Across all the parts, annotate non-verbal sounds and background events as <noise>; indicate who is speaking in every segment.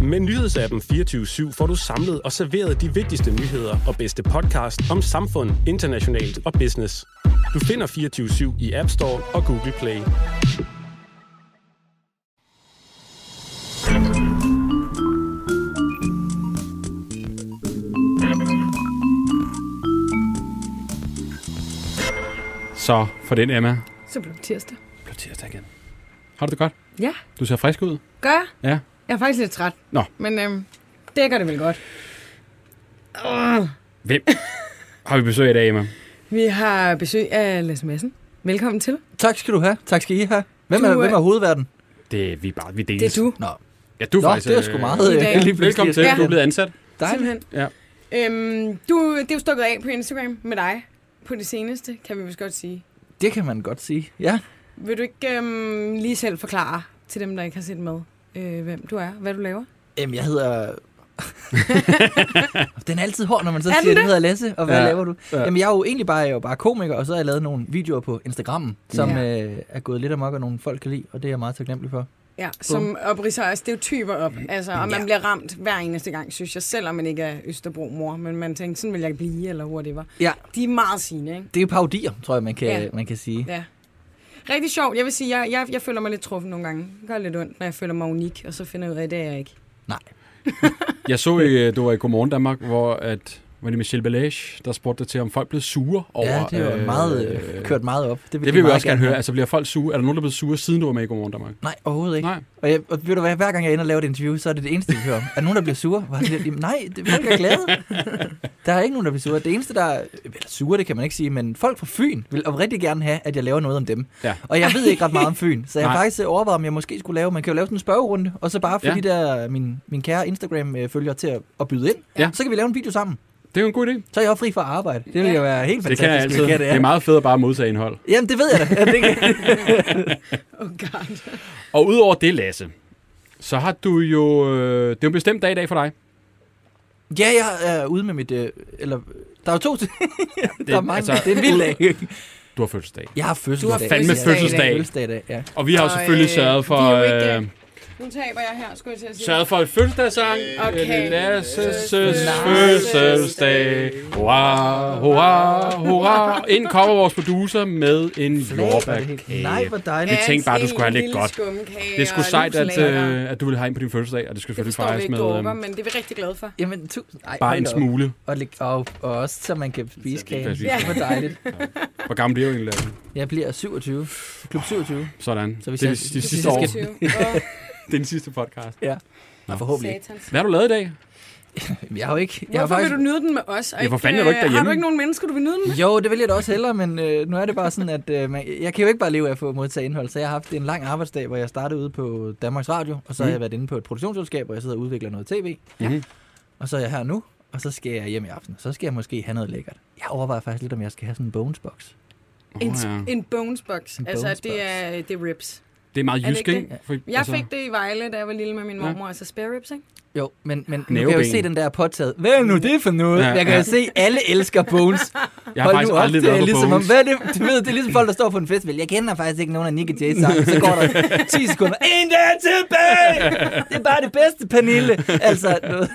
Speaker 1: Med nyhedsappen 24-7 får du samlet og serveret de vigtigste nyheder og bedste podcast om samfund, internationalt og business. Du finder 24-7 i App Store og Google Play.
Speaker 2: Så for den, Emma,
Speaker 3: Så blev det tirsdag.
Speaker 2: blev tirsdag igen. Har du det godt?
Speaker 3: Ja,
Speaker 2: Du ser frisk ud.
Speaker 3: gør jeg?
Speaker 2: Ja.
Speaker 3: Jeg er faktisk lidt træt.
Speaker 2: Nå.
Speaker 3: Men øhm, det gør det vel godt. Uh,
Speaker 2: Hvem har vi besøg i dag, Emma?
Speaker 3: vi har besøg af Lasse Madsen. Velkommen til.
Speaker 4: Tak skal du have. Tak skal I have. Hvem
Speaker 3: Du øh, uh.
Speaker 4: er,
Speaker 3: er-
Speaker 4: hvem er hovedverden?
Speaker 2: Det er vi bare, vi deles.
Speaker 3: Det er du,
Speaker 4: Nå,
Speaker 2: Ja, du er
Speaker 4: Nå
Speaker 2: faktisk...
Speaker 4: det er sgu
Speaker 2: øh,
Speaker 4: meget.
Speaker 3: i dag.
Speaker 4: øh, lige pludselig.
Speaker 2: Velkommen til,
Speaker 3: Ja.
Speaker 2: du er blevet ansat.
Speaker 4: Dejligt.
Speaker 3: simpelthen.
Speaker 2: Ja.
Speaker 3: Øhm, du, det er jo stukket af på Instagram med dig på det seneste, kan vi vist godt sige.
Speaker 4: Det kan man godt sige. Ja.
Speaker 3: Vil du ikke øhm, lige selv forklare til dem, der ikke har set med, øh, hvem du er, hvad du laver?
Speaker 4: Jamen,
Speaker 3: <laughs>
Speaker 4: jeg hedder... den er altid hård, når man så
Speaker 3: Er den
Speaker 4: siger, at
Speaker 3: det?
Speaker 4: jeg hedder Lasse, og hvad
Speaker 2: Ja.
Speaker 4: ja. laver du?
Speaker 2: Ja.
Speaker 4: Ja. Jamen, jeg er jo egentlig bare, jeg er jo bare komiker, og så har jeg lavet nogle videoer på Instagram, som
Speaker 3: Ja.
Speaker 4: ja. øh, er gået lidt amok, og nogle folk kan lide, og det er jeg meget taknemmelig for.
Speaker 3: Ja, som opriser stereotyper op, altså, og man ja. bliver ramt hver eneste gang, synes jeg, selvom man ikke er Østerbro-mor, men man tænker, sådan vil jeg blive, eller whatever.
Speaker 4: Ja.
Speaker 3: De er meget sigende, ikke?
Speaker 4: Det er jo parodier, tror jeg, man kan,
Speaker 3: Ja.
Speaker 4: ja. man kan sige.
Speaker 3: Ja. Rigtig sjovt. Jeg vil sige, jeg, jeg, jeg føler mig lidt truffen nogle gange. Det gør lidt ondt, når jeg føler mig unik, og så finder jeg ud af, at det er jeg ikke.
Speaker 2: Jeg så, øh, du var i Godmorgen Danmark, hvor at, var det Michelle Bellage, der spurgte dig til, om folk blev sure over...
Speaker 4: Ja, det er jo meget, øh, kørt meget op.
Speaker 2: Det vil vi også gerne høre. Altså, bliver folk sure? Er der nogen, der er blevet sure, siden du var med i Godmorgen Danmark?
Speaker 4: Nej, overhovedet ikke.
Speaker 2: Nej.
Speaker 4: Og, jeg, og ved du hvad, hver gang jeg ender og laver et interview, så er det det eneste, vi hører om. Er der nogen, der bliver sure? Var det, lidt- jamen, nej, det, folk er
Speaker 2: <laughs>
Speaker 4: glade. der er ikke nogen, der bliver sure. Det eneste, der er eller sure, det kan man ikke sige, men folk fra Fyn vil rigtig gerne have, at jeg laver noget om dem.
Speaker 2: Ja.
Speaker 4: Og jeg ved ikke ret meget om Fyn, så jeg har
Speaker 2: Nej.
Speaker 4: faktisk øh, overvejet, om jeg måske skulle lave, man kan jo lave sådan en spørgerunde, og så bare få
Speaker 2: Ja.
Speaker 4: ja. de der, øh, min, min kære Instagram-følger til at, at byde ind.
Speaker 2: Ja.
Speaker 4: Så kan vi lave en video sammen.
Speaker 2: Det er jo en god idé.
Speaker 4: Så er jeg også fri for at arbejde. Det vil
Speaker 3: Ja.
Speaker 4: jo være helt
Speaker 2: Det
Speaker 4: fantastisk.
Speaker 2: kan jeg altid.
Speaker 4: hvis
Speaker 2: Det er meget fedt at bare modtage indhold.
Speaker 4: Jamen, det ved jeg da. Ja, det
Speaker 2: <laughs>
Speaker 4: kan...
Speaker 3: Oh god.
Speaker 2: Og udover det, Lasse, så har du jo... Øh, det er jo en bestemt dag i dag for dig.
Speaker 4: Ja, jeg er ude med mit... Øh, eller, der er jo to ting. <laughs>
Speaker 2: Det,
Speaker 4: Der er mange. Altså, det er en vild dag.
Speaker 2: Du har fødselsdag.
Speaker 4: Jeg har fødselsdag.
Speaker 3: Du har fandme
Speaker 4: Ja, jeg har
Speaker 2: fødselsdag.
Speaker 4: fødselsdag i dag, ja.
Speaker 2: Og vi har jo
Speaker 3: Og,
Speaker 2: selvfølgelig
Speaker 3: øh,
Speaker 2: sørget for...
Speaker 3: vi er jo ikke,
Speaker 2: øh,
Speaker 3: Nu taber jeg her, skulle jeg til at sige.
Speaker 2: Sørget for et fødselsdagssang.
Speaker 3: Okay.
Speaker 2: Lasses fødselsdag.
Speaker 3: fødselsdag.
Speaker 2: Hurra, hurra, hurra. Ind kommer vores producer med en jordbærkage.
Speaker 4: Nej, hvor dejligt.
Speaker 2: vi tænkte bare, du skulle have lidt godt. Det skulle
Speaker 3: skulle
Speaker 2: sejt, at, øh, at du ville have ind på din fødselsdag, og det skulle
Speaker 3: det
Speaker 2: selvfølgelig
Speaker 3: forstår vi
Speaker 2: fejres
Speaker 3: ikke
Speaker 2: med
Speaker 3: dråber,
Speaker 2: øhm,
Speaker 3: men det er vi rigtig glade for.
Speaker 4: Jamen, tusind. Ej,
Speaker 2: bare
Speaker 4: hold
Speaker 2: en
Speaker 4: da op.
Speaker 2: smule.
Speaker 4: Og, læg- og, og også, så man kan spise
Speaker 2: Så man
Speaker 4: kagen.
Speaker 2: kan spise
Speaker 4: Ja.
Speaker 3: kagen.
Speaker 4: Hvor dejligt.
Speaker 2: Hvor gammel bliver du egentlig? Lasse?
Speaker 4: Jeg bliver 27. Klub 27.
Speaker 2: Sådan.
Speaker 4: Så
Speaker 2: Så
Speaker 4: hvis
Speaker 2: det er
Speaker 4: jeg-
Speaker 2: de,
Speaker 4: hvis jeg
Speaker 2: de sidste
Speaker 4: skal-
Speaker 2: år.
Speaker 4: skal-
Speaker 3: Åh,
Speaker 2: Det er den sidste podcast.
Speaker 4: Nej, forhåbentlig ikke.
Speaker 3: satans.
Speaker 2: Hvad har du lavet i dag?
Speaker 4: Jeg har jo ikke... Jeg har
Speaker 3: Hvorfor vil
Speaker 4: faktisk...
Speaker 3: du nyde den med os? og
Speaker 2: Ja, hvor
Speaker 3: ikke,
Speaker 2: fanden er du ikke
Speaker 3: øh, Har
Speaker 2: derhjemme?
Speaker 3: du ikke nogen mennesker, du vil nyde den med?
Speaker 4: Jo, det vil jeg da også hellere, men øh, nu er det bare sådan, at øh, man, jeg kan jo ikke bare leve af at få modtage indhold, så jeg har haft en lang arbejdsdag, hvor jeg startede ude på Danmarks Radio, og så har
Speaker 2: Mm.
Speaker 4: jeg været inde på et produktionsselskab, hvor jeg sidder og udvikler noget tv,
Speaker 2: Mhm.
Speaker 4: og så er jeg her nu, og så skal jeg hjem i aften, og så skal jeg måske have noget lækkert. Jeg overvejer faktisk lidt, om jeg skal have sådan en bonesbox.
Speaker 2: Åh,
Speaker 3: En,
Speaker 2: ja.
Speaker 3: en bonesbox.
Speaker 4: En
Speaker 3: altså, det
Speaker 4: bonesbox.
Speaker 3: er, det er ribs.
Speaker 2: Det er meget
Speaker 3: Er det
Speaker 2: jysk,
Speaker 3: ikke
Speaker 2: ikke? For- altså,
Speaker 3: Jeg fik det i Vejle, da jeg var lille med min
Speaker 2: Ja.
Speaker 3: mormor. Altså spare ribs, ikke?
Speaker 4: Jo, men, men nu kan jeg
Speaker 2: Næveben.
Speaker 4: jo se den der påtaget. Hvad er nu det for noget?
Speaker 2: Ja,
Speaker 4: Ja, jeg kan
Speaker 2: ja.
Speaker 4: jo se, alle elsker Bones.
Speaker 2: <laughs> Jeg har faktisk aldrig
Speaker 4: det er
Speaker 2: været på
Speaker 4: ligesom, om,
Speaker 2: Bones.
Speaker 4: hvad er det? Du ved, det er ligesom folk, der står på en festival. Jeg kender faktisk ikke nogen af Nick Jay sange. Så går der
Speaker 2: <laughs>
Speaker 4: 10 sekunder. En der er tilbage! Det er bare det bedste, Pernille. Altså, du ved.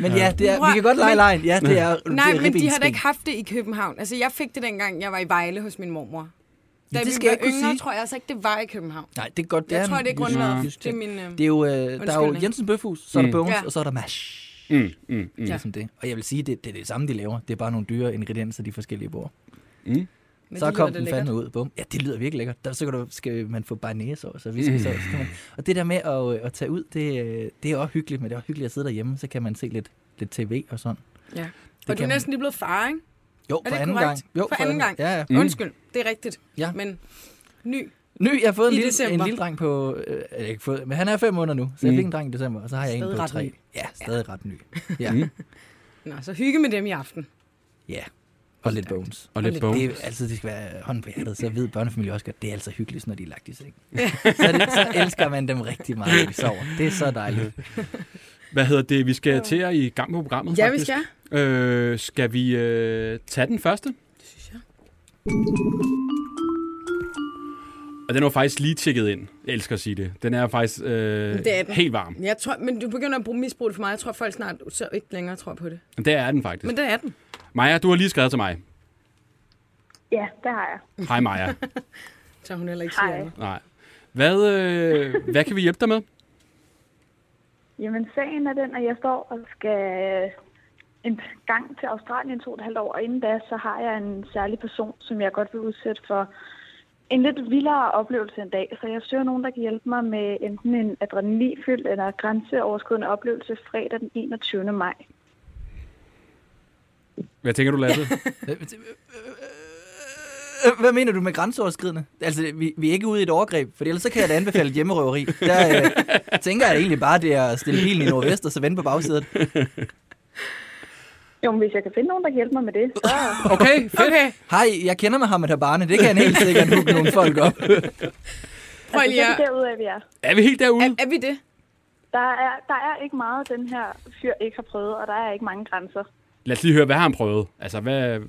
Speaker 4: Men ja, det er, vi kan godt lege lejen. Ja, det er,
Speaker 3: Nej,
Speaker 4: det er
Speaker 3: men de har da
Speaker 4: ribbenskind.
Speaker 3: ikke haft det i København. Altså, jeg fik det dengang, jeg var i Vejle hos min mormor. Da
Speaker 4: det
Speaker 3: vi
Speaker 4: skal
Speaker 3: var
Speaker 4: jeg ikke kunne
Speaker 3: yngre,
Speaker 4: sige.
Speaker 3: tror jeg altså ikke, det var i København.
Speaker 4: Nej, det er godt.
Speaker 3: Jeg tror, det er
Speaker 4: en jysk-
Speaker 3: grundlaget.
Speaker 4: jysk
Speaker 3: Det er
Speaker 4: ting.
Speaker 3: min... Øh...
Speaker 4: Det er jo, øh, der er jo
Speaker 3: Undskyldning.
Speaker 4: Jensen Bøfhus, så er der
Speaker 2: Mm.
Speaker 4: Bones,
Speaker 3: Ja.
Speaker 4: og så er der Mash.
Speaker 2: Mm, mm, mm.
Speaker 3: Ja.
Speaker 4: Ligesom det. Og jeg vil sige, det, det er det samme, de laver. Det er bare nogle dyre ingredienser, de forskellige bruger.
Speaker 2: Mm.
Speaker 3: Men
Speaker 4: så
Speaker 3: det
Speaker 4: kom
Speaker 3: lyder
Speaker 4: den
Speaker 3: da lækkert.
Speaker 4: fandme ud. Bum. Ja, det lyder virkelig lækkert. Der, så kan du, skal man få bearnaisesauce og
Speaker 2: Mm.
Speaker 4: viskesauce. så kan man- Og det der med at, øh, at tage ud, det, øh, det er også hyggeligt, men det er også hyggeligt at sidde derhjemme, så kan man se lidt, lidt tv og sådan.
Speaker 3: Ja.
Speaker 4: Det
Speaker 3: Og du er
Speaker 4: kan man.
Speaker 3: næsten lige blevet far, ikke?
Speaker 4: Jo,
Speaker 3: Er
Speaker 4: for
Speaker 3: det
Speaker 4: anden
Speaker 3: korrekt?
Speaker 4: gang. Jo,
Speaker 3: For anden gang.
Speaker 4: Ja, ja.
Speaker 2: Mm.
Speaker 3: Mm. Undskyld, det er rigtigt.
Speaker 4: Ja.
Speaker 3: Men ny.
Speaker 4: Nu, jeg har fået en
Speaker 3: I
Speaker 4: lille, en
Speaker 3: december.
Speaker 4: lille dreng på... Øh, eller jeg har ikke fået, men han er fem måneder nu, så jeg
Speaker 2: Mm.
Speaker 4: fik en dreng i december, og så har jeg
Speaker 3: Stadig
Speaker 4: en på
Speaker 3: ret
Speaker 4: tre.
Speaker 3: ny.
Speaker 4: Ja, stadig ret ny. Ja,
Speaker 2: Mm.
Speaker 3: Nå, så hygge med dem i aften.
Speaker 4: ja. Og lidt bones.
Speaker 2: Og lidt
Speaker 3: lidt
Speaker 2: Bones.
Speaker 4: Det er altid, det skal være hånden på hjertet, så ved børnefamilier også godt, det er altså hyggeligt, når de er lagt i seng. <laughs> så, er det, så elsker man dem rigtig meget, når de sover. Det er så dejligt.
Speaker 2: Hvad hedder det? Vi skal til at i gang med programmet,
Speaker 3: Ja, vi
Speaker 2: faktisk.
Speaker 3: skal.
Speaker 2: Øh, skal vi øh, tage den første?
Speaker 3: Det synes jeg.
Speaker 2: Og den var faktisk lige tjekket ind. Jeg elsker at sige det. Den er faktisk øh,
Speaker 3: Det er den.
Speaker 2: helt varm.
Speaker 3: Jeg tror, men du begynder at bruge misbrug det for mig. Jeg tror, folk snart så ikke længere tror på det.
Speaker 2: Men der er den faktisk.
Speaker 3: Men det er den.
Speaker 2: Maja, du har lige skrevet til mig.
Speaker 5: Ja, det har jeg.
Speaker 2: Hej
Speaker 3: <laughs>
Speaker 2: Maja.
Speaker 3: Så hun heller ikke
Speaker 5: Hej.
Speaker 3: siger andet.
Speaker 2: Nej. Hvad, øh, hvad kan vi hjælpe dig med?
Speaker 5: Jamen, sagen er den, at jeg står og skal øh, en gang til Australien to og et halvt år, og inden da, så har jeg en særlig person, som jeg godt vil udsætte for en lidt vildere oplevelse en dag. Så jeg søger nogen, der kan hjælpe mig med enten en adrenalinfyldt eller grænseoverskridende oplevelse fredag den 21. maj.
Speaker 2: Hvad tænker du, Lasse?
Speaker 4: Øh, Hvad mener du med grænseoverskridende? Altså, vi, vi er ikke ude i et overgreb, for ellers så kan jeg da anbefale et hjemmerøveri. Der øh, tænker jeg egentlig bare, det er at stille bilen i nordvest og så vende på bagsædet.
Speaker 5: Jo, men hvis jeg kan finde nogen, der kan hjælpe mig med det, så...
Speaker 2: Okay, fedt.
Speaker 3: Okay,
Speaker 4: Hej, jeg kender med Hamad Habane, det kan han helt sikkert hugge nogle folk op.
Speaker 3: prøv lige
Speaker 5: Altså,
Speaker 3: at...
Speaker 5: det er derudad, vi er.
Speaker 2: Er vi helt derude?
Speaker 3: Er, er vi det?
Speaker 5: Der er, der er ikke meget, den her fyr ikke har prøvet, og der er ikke mange grænser.
Speaker 2: Lad os lige høre, hvad har han prøvet? Altså, hvad...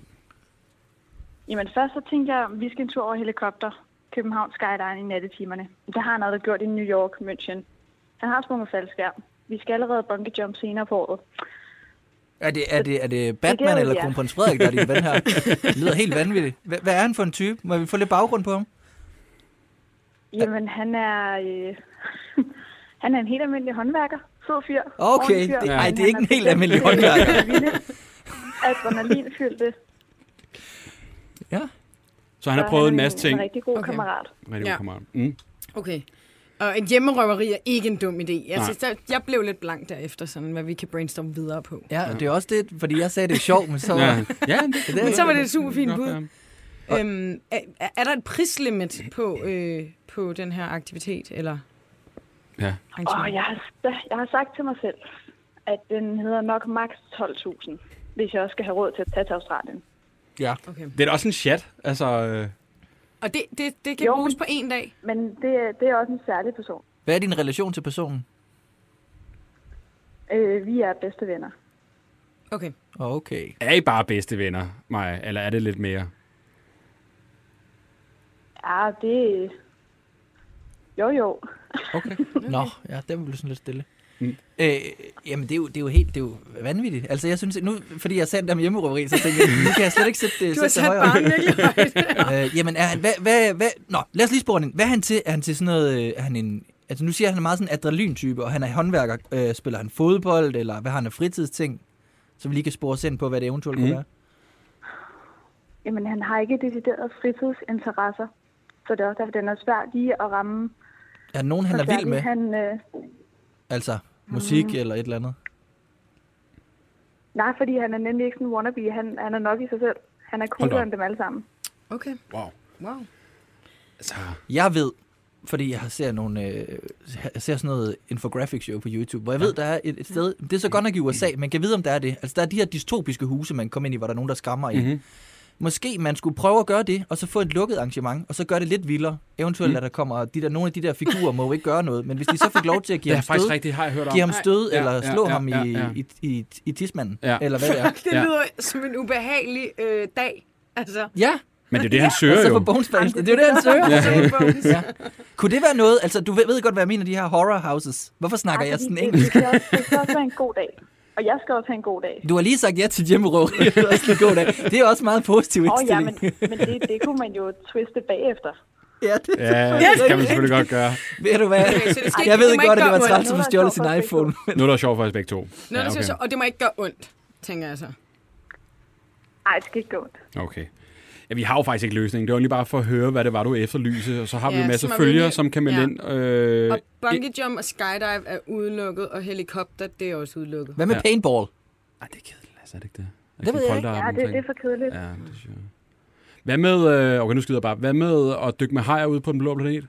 Speaker 5: Jamen først så tænkte jeg, vi skal en tur over helikopter. København Skyline i nattetimerne. Det har han allerede gjort i New York, München. Han har sprunget faldskærm. Vi skal allerede bungee jump senere på året.
Speaker 4: Er det, er det, er det Batman
Speaker 5: ved
Speaker 4: eller
Speaker 5: jeg.
Speaker 4: kronprins Frederik, der er din ven her? Det lyder helt vanvittigt. Hvad, hvad er han for en type? Må vi få lidt baggrund på ham?
Speaker 5: Jamen han er... Øh, <laughs> han er en helt almindelig håndværker. Sød fyr.
Speaker 4: Okay,
Speaker 5: ordentlig fyr,
Speaker 4: det-
Speaker 5: men
Speaker 4: ej, det er
Speaker 5: han
Speaker 4: ikke en helt
Speaker 5: bestemt
Speaker 4: almindelig
Speaker 5: <laughs> ikke
Speaker 4: håndværker.
Speaker 5: vilde. Adrenalinfyldte.
Speaker 4: Ja.
Speaker 2: Så han har
Speaker 5: Så
Speaker 2: prøvet en
Speaker 5: er
Speaker 2: masse ting.
Speaker 5: En rigtig god
Speaker 3: Okay.
Speaker 5: okay. kammerat.
Speaker 2: Rigtig
Speaker 3: Ja.
Speaker 2: god kammerat. Mm.
Speaker 3: Okay. Og et hjemmerøveri er ikke en dum idé.
Speaker 2: Nej.
Speaker 3: Altså, der, jeg blev lidt blank derefter, sådan, hvad vi kan brainstorme videre på.
Speaker 4: Ja, og det er også det, fordi jeg sagde, det er sjovt, men så...
Speaker 2: Ja.
Speaker 4: Ja.
Speaker 2: ja, det,
Speaker 3: Men så var det et super fint bud.
Speaker 2: Ja.
Speaker 3: Øhm, er, er- er der et prislimit på, øh, på den her aktivitet, eller
Speaker 2: Ja.
Speaker 3: arrangement?
Speaker 5: Og jeg har, jeg har sagt til mig selv, at den hedder nok maks 12.000, hvis jeg også skal have råd til at tage til Australien.
Speaker 4: ja.
Speaker 3: Okay.
Speaker 2: Det er da også en chat. Altså, øh,
Speaker 3: Og det, det, det kan
Speaker 5: Jo,
Speaker 3: jo.
Speaker 5: men-
Speaker 3: bruges på en dag?
Speaker 5: Men det, det er også en særlig person.
Speaker 4: Hvad er din relation til personen?
Speaker 5: Øh, vi er bedste venner.
Speaker 3: Okay.
Speaker 4: Okay.
Speaker 2: er I bare bedste venner, Maja? Eller er det lidt mere?
Speaker 5: Ja, det... Jo, jo.
Speaker 4: Nå, ja, den blev sådan lidt stille. Mm. Øh, jamen, det er, jo, det er jo helt det er jo vanvittigt. Altså, jeg synes, nu, fordi jeg sendte dem hjemmerøveri, så tænkte jeg, nu kan jeg slet ikke sætte det,
Speaker 3: Du har
Speaker 4: sætte
Speaker 3: sat
Speaker 4: det højere.
Speaker 3: barnet virkelig
Speaker 4: <laughs>
Speaker 3: højt.
Speaker 4: Øh, jamen, er han, hvad, hvad, hvad, nå, lad os lige spore den. Hvad er han til? Er han til sådan noget, øh, er han en, altså nu siger jeg, han er meget sådan en adrenalin-type, og han er håndværker. Øh, spiller han fodbold, eller hvad har han af fritidsting? Så vi lige kan spore os ind på, hvad det eventuelt mm.
Speaker 2: Mm.
Speaker 4: kunne være.
Speaker 5: Jamen, han har ikke deciderede fritidsinteresser. Så det er også derfor, den er svær lige at ramme.
Speaker 4: Er der nogen, han
Speaker 5: Så
Speaker 4: er vild
Speaker 5: særligt
Speaker 4: med?
Speaker 5: Han, Mm. øh,
Speaker 4: Altså, musik eller et eller andet?
Speaker 5: nej, fordi han er nemlig ikke sådan en wannabe. Han, han er nok i sig selv. Han er
Speaker 2: Hold da
Speaker 5: coolere
Speaker 2: op.
Speaker 5: end dem alle sammen.
Speaker 3: Okay.
Speaker 2: Wow.
Speaker 3: Wow.
Speaker 2: Altså,
Speaker 4: Jeg ved, fordi jeg ser nogle, øh, jeg ser sådan noget infographic show på YouTube, hvor jeg ved, der er et, et sted, det er så godt nok i USA, men kan vide, om der er det. Altså, der er de her dystopiske huse, man kommer ind i, hvor der er nogen, der skræmmer i. Mm-hmm. Måske man skulle prøve at gøre det, og så få et lukket arrangement, og så gøre det lidt vildere. Eventuelt, mm. at der kommer, de der, nogle af de der figurer må jo ikke gøre noget, men hvis de så fik lov til at
Speaker 2: <laughs> det
Speaker 4: give
Speaker 2: er
Speaker 4: ham
Speaker 2: faktisk
Speaker 4: stød,
Speaker 2: rigtigt, har jeg hørt om.
Speaker 4: give ham stød,
Speaker 2: Ja,
Speaker 4: eller
Speaker 2: ja,
Speaker 4: slå
Speaker 2: ja,
Speaker 4: ham
Speaker 2: ja,
Speaker 4: i,
Speaker 2: ja.
Speaker 4: I, i, i tismanden,
Speaker 2: Ja.
Speaker 4: eller hvad det er.
Speaker 3: <laughs> Det
Speaker 2: Ja.
Speaker 3: lyder som en ubehagelig øh, dag. Altså,
Speaker 4: <laughs> <laughs> Ja,
Speaker 2: Men det er det, han
Speaker 4: og
Speaker 2: søger
Speaker 4: så på
Speaker 2: jo.
Speaker 4: Bones Det er jo det, han
Speaker 3: <laughs>
Speaker 4: søger.
Speaker 3: ja.
Speaker 4: <laughs> Ja. Kunne det være noget, altså du ved, ved godt, hvad jeg mener, de her horror houses. Hvorfor snakker
Speaker 5: Ej,
Speaker 4: jeg
Speaker 5: fordi
Speaker 4: sådan
Speaker 5: det-
Speaker 4: engelsk?
Speaker 5: Det, skal også- det skal også være en god dag. Og jeg skal også have en god dag.
Speaker 4: Du har lige sagt <laughs> ja til hjemmerøveri. Det er også en god dag. Det er også meget positiv
Speaker 5: Åh oh, ja,
Speaker 4: indstilling.
Speaker 5: men, men det, det kunne man jo twiste
Speaker 4: <laughs>
Speaker 5: bagefter.
Speaker 4: ja, det,
Speaker 2: Ja, det kan man selvfølgelig godt gøre.
Speaker 4: ved du <laughs> hvad?
Speaker 3: Okay, så det skal
Speaker 4: jeg
Speaker 3: ikke-
Speaker 4: ved
Speaker 3: det må
Speaker 4: godt, at
Speaker 3: ikke
Speaker 4: det var
Speaker 3: gøre
Speaker 4: træls at
Speaker 5: ondt.
Speaker 4: få stjålet sin
Speaker 5: Noget, der er
Speaker 4: iPhone.
Speaker 2: Nu er der sjovt for os begge to.
Speaker 3: Noget, der
Speaker 2: ja,
Speaker 3: synes jeg- og det må ikke gøre ondt, tænker jeg så.
Speaker 5: Nej, det skal ikke gå ondt.
Speaker 2: Okay. Ja, vi har jo faktisk ikke løsningen. Det var lige bare for at høre, hvad det var, du efterlyse. Og så har vi
Speaker 3: Ja,
Speaker 2: en masse
Speaker 3: så må vi
Speaker 2: følgere,
Speaker 3: lige-
Speaker 2: som kan melde
Speaker 3: Ja.
Speaker 2: ind. Øh,
Speaker 3: Og bungee jump og skydive er udelukket, og helikopter, det er også udelukket.
Speaker 4: Hvad med
Speaker 2: Ja.
Speaker 4: paintball?
Speaker 2: Ej, det er kedeligt, altså, er det ikke det? Er
Speaker 4: Det ved jeg
Speaker 2: ikke.
Speaker 5: Ja, det, det er for kedeligt.
Speaker 2: Ja, det synes jeg. Hvad med, øh, okay, nu skyder jeg bare, hvad med at dykke med hajer ude på den blå planet?